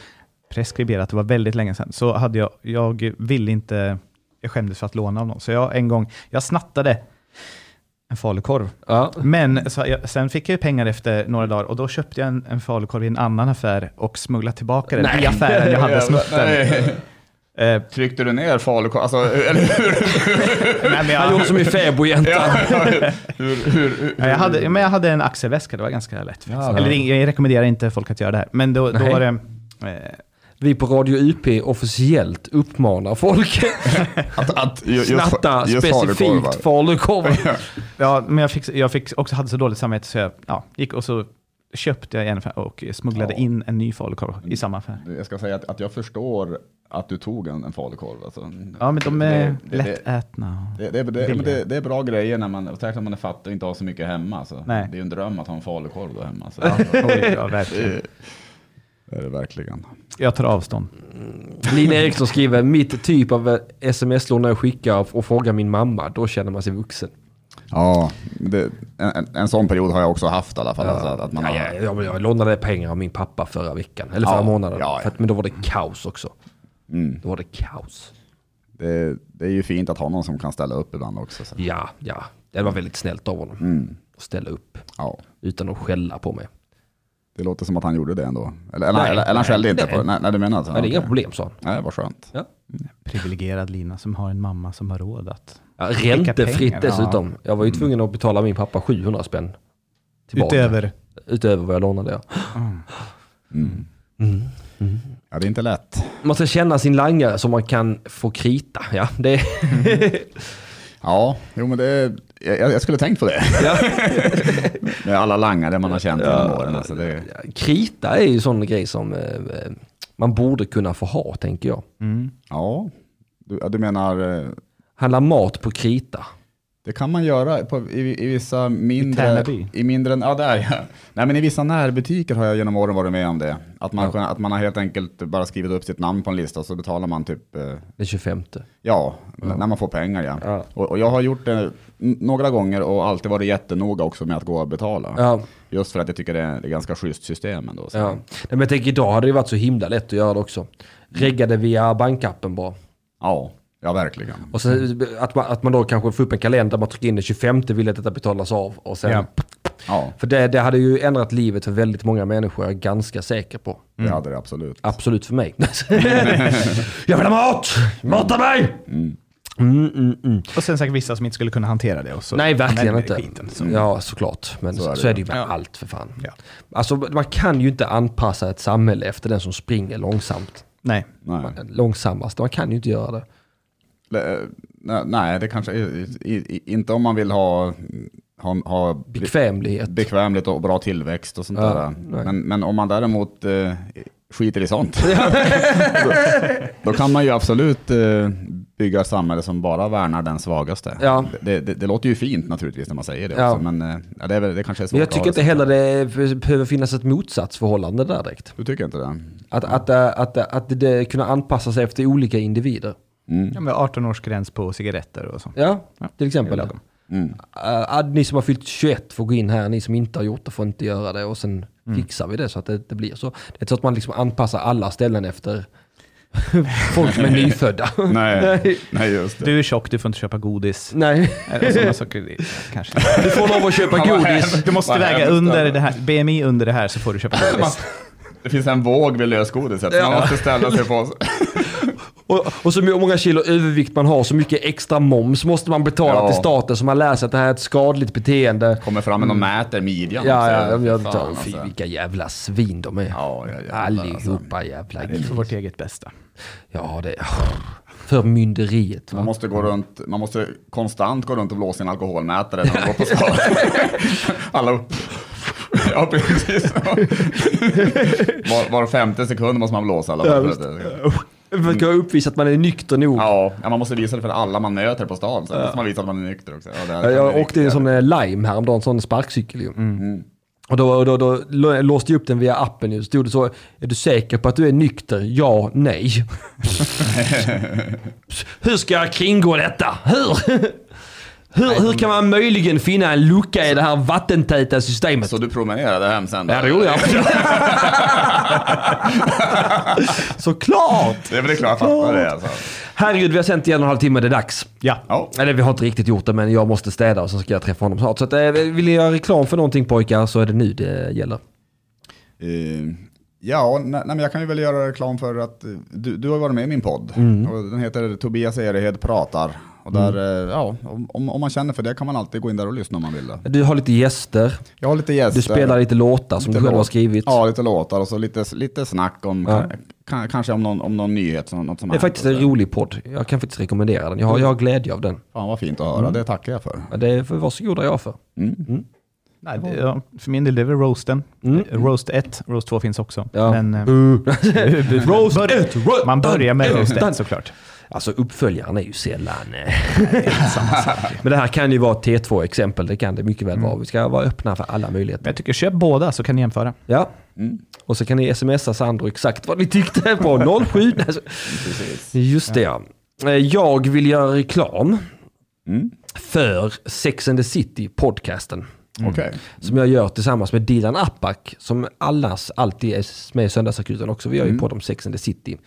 preskriberat, det var väldigt länge sedan, så hade jag, jag ville inte, jag skämdes för att låna av någon, så jag en gång, jag snattade en falukorv.
Ja.
Men så jag, sen fick jag ju pengar efter några dagar och då köpte jag en, en falukorv i en annan affär och smugglade tillbaka den i affären jag hade smutt den.
Nej.
Eh,
Tryckte du ner falukorv? Alltså, eller hur?
nej, men
Han
jag,
gjorde som i fäbodjäntan.
hur, hur, hur?
Ja, jag, hade, men jag hade en axelväska, det var ganska lätt. faktiskt. Eller, det- jag rekommenderar inte folk att göra det här, men då, då
Nej.
var det... Eh,
Vi på Radio UP officiellt uppmanar folk
Att, att ju- just,
snatta
just falukorvar.
specifikt falukorvar.
Ja, men jag fick, jag fick också, hade så dåligt samvete så jag ja, gick och så köpte jag en affär och smugglade
Ja.
in en ny falukorv i samma affär.
Jag ska säga att, att jag förstår att du tog en, en falukorv. Alltså.
Ja, men de är
Det- det-
lättätna.
Det, det, det, det, men
Billiga.
det, det är bra grejer när man, särskilt när man är fattig och inte har så mycket hemma. Så.
Nej.
Det är ju en dröm att ha en falukorv då hemma. Så.
Oj, ja, verkligen.
Det är det verkligen.
jag tar avstånd.
Lina Eriksson skriver, mitt typ av sms-lån när jag skickar och frågar min mamma, då känner man sig vuxen.
Ja, det, en, en, en sån period har jag också haft i alla fall. Alltså, att, att man
Ja,
har,
ja, ja, men jag lånade pengar av min pappa förra veckan, eller förra
Ja,
månaden.
ja, Mm. ja.
För att, men då var det kaos också. Då var det kaos.
det, det är ju fint att ha någon som kan ställa upp ibland också. Så. Mm.
Ja, ja. Det var väldigt snällt av honom att ställa upp
Ja.
utan att skälla på mig.
Det låter som att han gjorde det ändå. Eller, eller,
Nej,
eller, eller han skällde inte
nej.
på det. Nej, nej, du menar alltså?
Men det är inga
Okej.
problem, sa han.
Nej, vad skönt.
Ja.
Privilegierad Lina som har en mamma som har råd att...
Ja,
Skicka
räntefritt
pengar,
dessutom. Jag var ju tvungen att betala min pappa 700 spänn. Tillbaka.
Utöver.
Utöver vad jag lånade, ja.
Ja, det är inte lätt.
Man ska känna sin langare så man kan få krita. Ja, det är
Ja, jo men det är, jag, jag skulle tänkt på det. Med alla langare man har känt genom åren. Alltså det,
Krita är ju sån grej som eh, man borde kunna få ha, tänker jag.
ja, du, ja, du menar, eh,
Handla mat på krita.
det kan man göra på, i, i vissa mindre...
Tärnaby?
I mindre, ja där ja. Nej men i vissa närbutiker har jag genom åren varit med om det. Att man, kan- att man har helt enkelt bara skrivit upp sitt namn på en lista och så betalar man typ eh,
Den 25.
Ja, n- när man får pengar ja.
Ja.
Och, och jag har gjort det n- några gånger och alltid varit jättenoga också med att gå och betala.
Ja.
Just för att jag tycker det är ett ganska schysst system ändå. Så.
Ja. Nej, men jag tänker idag hade det varit så himla lätt att göra det också. Reggade via bankappen bara.
ja, ja, verkligen.
Och sen att man, att man då kanske får upp en kalender, man trycker in den 25, vill att detta betalas av. Och sen,
Ja.
Ja,
För det, det hade ju ändrat livet för väldigt många människor, jag är ganska säker på.
det hade det absolut.
Absolut för mig. jag vill ha mat! Mata mig!
Och sen säkert vissa som inte skulle kunna hantera det. Och så
Nej, verkligen
Men-
inte.
Alltså, skiten, så.
Ja, såklart. Men så,
är det
så är
ju.
det ju med allt för fan.
Ja.
Alltså, man kan ju inte anpassa ett samhälle efter den som springer långsamt.
Nej.
Nej.
Långsammast. Man kan ju inte göra det.
Le- eh, ne- Nej, det kanske i- i- i- inte om man vill ha, ha, ha bli-
Bekvämlighet.
bekvämligt och bra tillväxt och sånt
Ja,
där.
nej.
Men, men om man däremot eh, skiter i sånt, då, då kan man ju absolut eh, bygga ett samhälle som bara värnar den svagaste.
Ja.
Det, det, det låter ju fint naturligtvis när man säger det
Ja.
också, men eh, ja, det, är väl, det kanske är svårt
Men jag tycker
att
inte
ha
heller det behöver finnas ett motsatsförhållande där direkt.
så. Du tycker inte det?
Att, att, äh, att, att, att det kunna anpassa sig efter olika individer.
Mm.
Ja, men 18-årsgräns på cigaretter och så.
Ja,
Ja,
till exempel.
det är lagom.
Mm.
Äh, äh, ni som har fyllt 21 får gå in här, ni som inte har gjort det får inte göra det och sen fixar vi det så att det, det blir så. Det är inte så att man liksom anpassar alla ställen efter folk som är nyfödda.
Nej, nej just det.
Du är tjock, du får inte köpa
Mm.
godis.
Nej,
Eller sådana saker. det- Kanske.
du får lov att köpa godis.
Du måste
Vad
väga
hemskt. alltså.
under det här, BMI under det här så får du köpa godis.
Det finns en våg vid lösgodiset,
Ja.
man måste ställa sig på.
Och, och så många kilo övervikt man har, så mycket extra moms måste man betala
Ja.
till staten så man lär sig att det här är ett skadligt beteende.
Kommer fram och de mäter midjan.
Mm. Ja,
Så-
ja, de gör det.
Fan,
Fy,
alltså.
vilka jävla svin de är.
Ja, ja, jävlar, alltså.
Allihopa jävla
Det är för
gris.
vårt eget bästa.
Ja, det är... Förmynderiet.
Man
Va?
måste, gå runt, man måste konstant gå runt och blåsa i en alkoholmätare när man går på stan. Alla upp. Ja, precis. Var, var femte sekund måste man blåsa i alla fall.
För att kunna uppvisa att man är nykter nog.
Mm. Ja, ja, man måste visa det för alla man möter på stan. Sen måste man visa att man är nykter också. Ja, det här är
Jag åkte i en
riktigt Mm.
sån eh, Lime häromdagen, en sån sparkcykel ju. Och då, då, då lå- låste jag upp den via appen ju. Stod det så, är du säker på att du är nykter? Ja, nej. hur ska jag kringgå detta? Hur? hur, hur kan man möjligen finna en lucka i det här vattentäta systemet?
Så du promenerade hem sen?
Ja, det gjorde jag. Såklart!
Det är väl klart jag fattar det. Alltså.
Herregud, vi har sänt i en och en halv timme, det är dags.
Ja.
Ja.
Eller vi har inte riktigt gjort det, men jag måste städa och så ska jag träffa honom snart. Så att, eh, vill ni göra reklam för någonting pojkar så är det nu det gäller.
Eh, Ja, nej, nej, men jag kan ju väl göra reklam för att eh, du, du har ju varit med i min podd.
Mm.
Och den heter Tobias Erehed pratar. Och där,
Mm.
eh, ja, om- om, om man känner för det kan man alltid gå in där och lyssna om man vill. det.
Du har lite gäster,
Jag har lite gäster.
du spelar lite låtar som
Lite
du själv har
låt-
skrivit.
Ja, lite låtar och så lite, lite snack om,
Ja.
ka- kanske om någon, om någon nyhet. Som, något som
Det är
hänt
faktiskt
och så.
en rolig podd. Jag kan faktiskt rekommendera den. Jag har, jag har glädje av den.
Fan vad fint att höra,
Mm.
det tackar jag för.
Ja, Det får varsågoda jag för.
Nej, det, ja, för min del det är väl roasten.
Mm.
Eh, Roast 1, roast 2 finns också.
Ja.
Men, eh,
Roast
börja-
ett, roast
man börjar med
ett,
roast
utan-
1 såklart.
Alltså uppföljaren är ju sällan... eh, Men det här kan ju vara ett T2-exempel. Det kan det mycket väl
Mm.
vara. Vi ska vara öppna för alla
Men
möjligheter.
jag tycker köp båda så kan ni jämföra.
Ja. Och så kan ni smsa Sandro exakt vad ni tyckte på 07. Alltså, Just det ja. Eh, Jag vill göra reklam för Sex and the City podcasten.
Okej.
Som jag gör tillsammans med Dilan Apak som annars alltid är med i Söndagsakuten också. Vi gör ju podd om Sex and the City.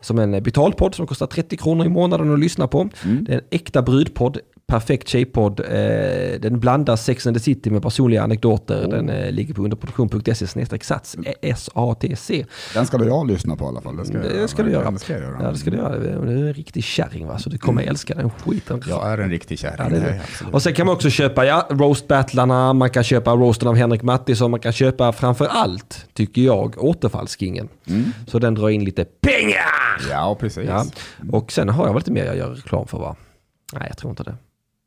Som en eh, betalpodd som kostar 30 kronor i månaden att lyssna på. Det är en äkta brudpodd, perfekt tjejpodd. Eh, Den blandar Sex and the City med personliga anekdoter. Den eh, ligger på underproduktion.se E snedstreck sats, S-A-T-C.
Den ska du jag lyssna på i alla fall. Det ska, jag
Eh, Det
göra.
ska du göra.
Det ska jag göra.
Ja, det ska du göra. Du är en riktig kärring va, så du kommer älska den skiten.
Jag är en riktig kärring.
Ja, det är det. Och sen kan man också köpa ja, roastbattlarna, man kan köpa roasten av Henrik Mattisson, man kan köpa framför allt, tycker jag, återfallskingen. Så den drar in lite pengar!
Ja, precis.
Ja. Och sen har jag väl lite mer jag gör reklam för va? Nej, jag tror inte det.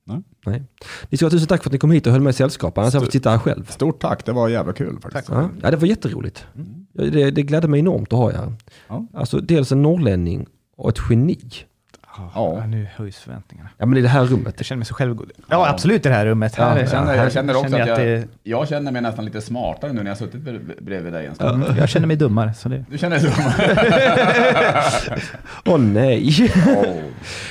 Nej.
Nej. Ni ska ha tusen tack för att ni kom hit och höll mig sällskap, annars hade jag fått sitta här själv.
Stort tack, det var jävla kul faktiskt.
Ja, ja, det var jätteroligt. Ja, Det, det glädde mig enormt att ha er här.
Ja.
Alltså dels en norrlänning och ett geni.
Ja.
nu höjs förväntningarna.
Ja men i det här rummet.
Jag känner mig så självgod. Ja, absolut i det här rummet. Här,
Jag känner, jag känner också att
det-
jag, jag känner mig nästan lite smartare nu när jag har suttit br- bredvid dig en stund.
Mm, jag känner mig dummare. Så det,
Du känner dig så?
Åh nej.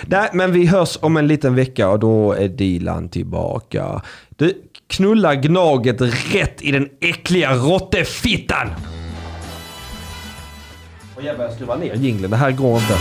Nej men vi hörs om en liten vecka och då är Dilan tillbaka. Du, knulla gnaget rätt i den äckliga råttefittan! Och jävlar jag skruvar ner jingeln, det här går inte.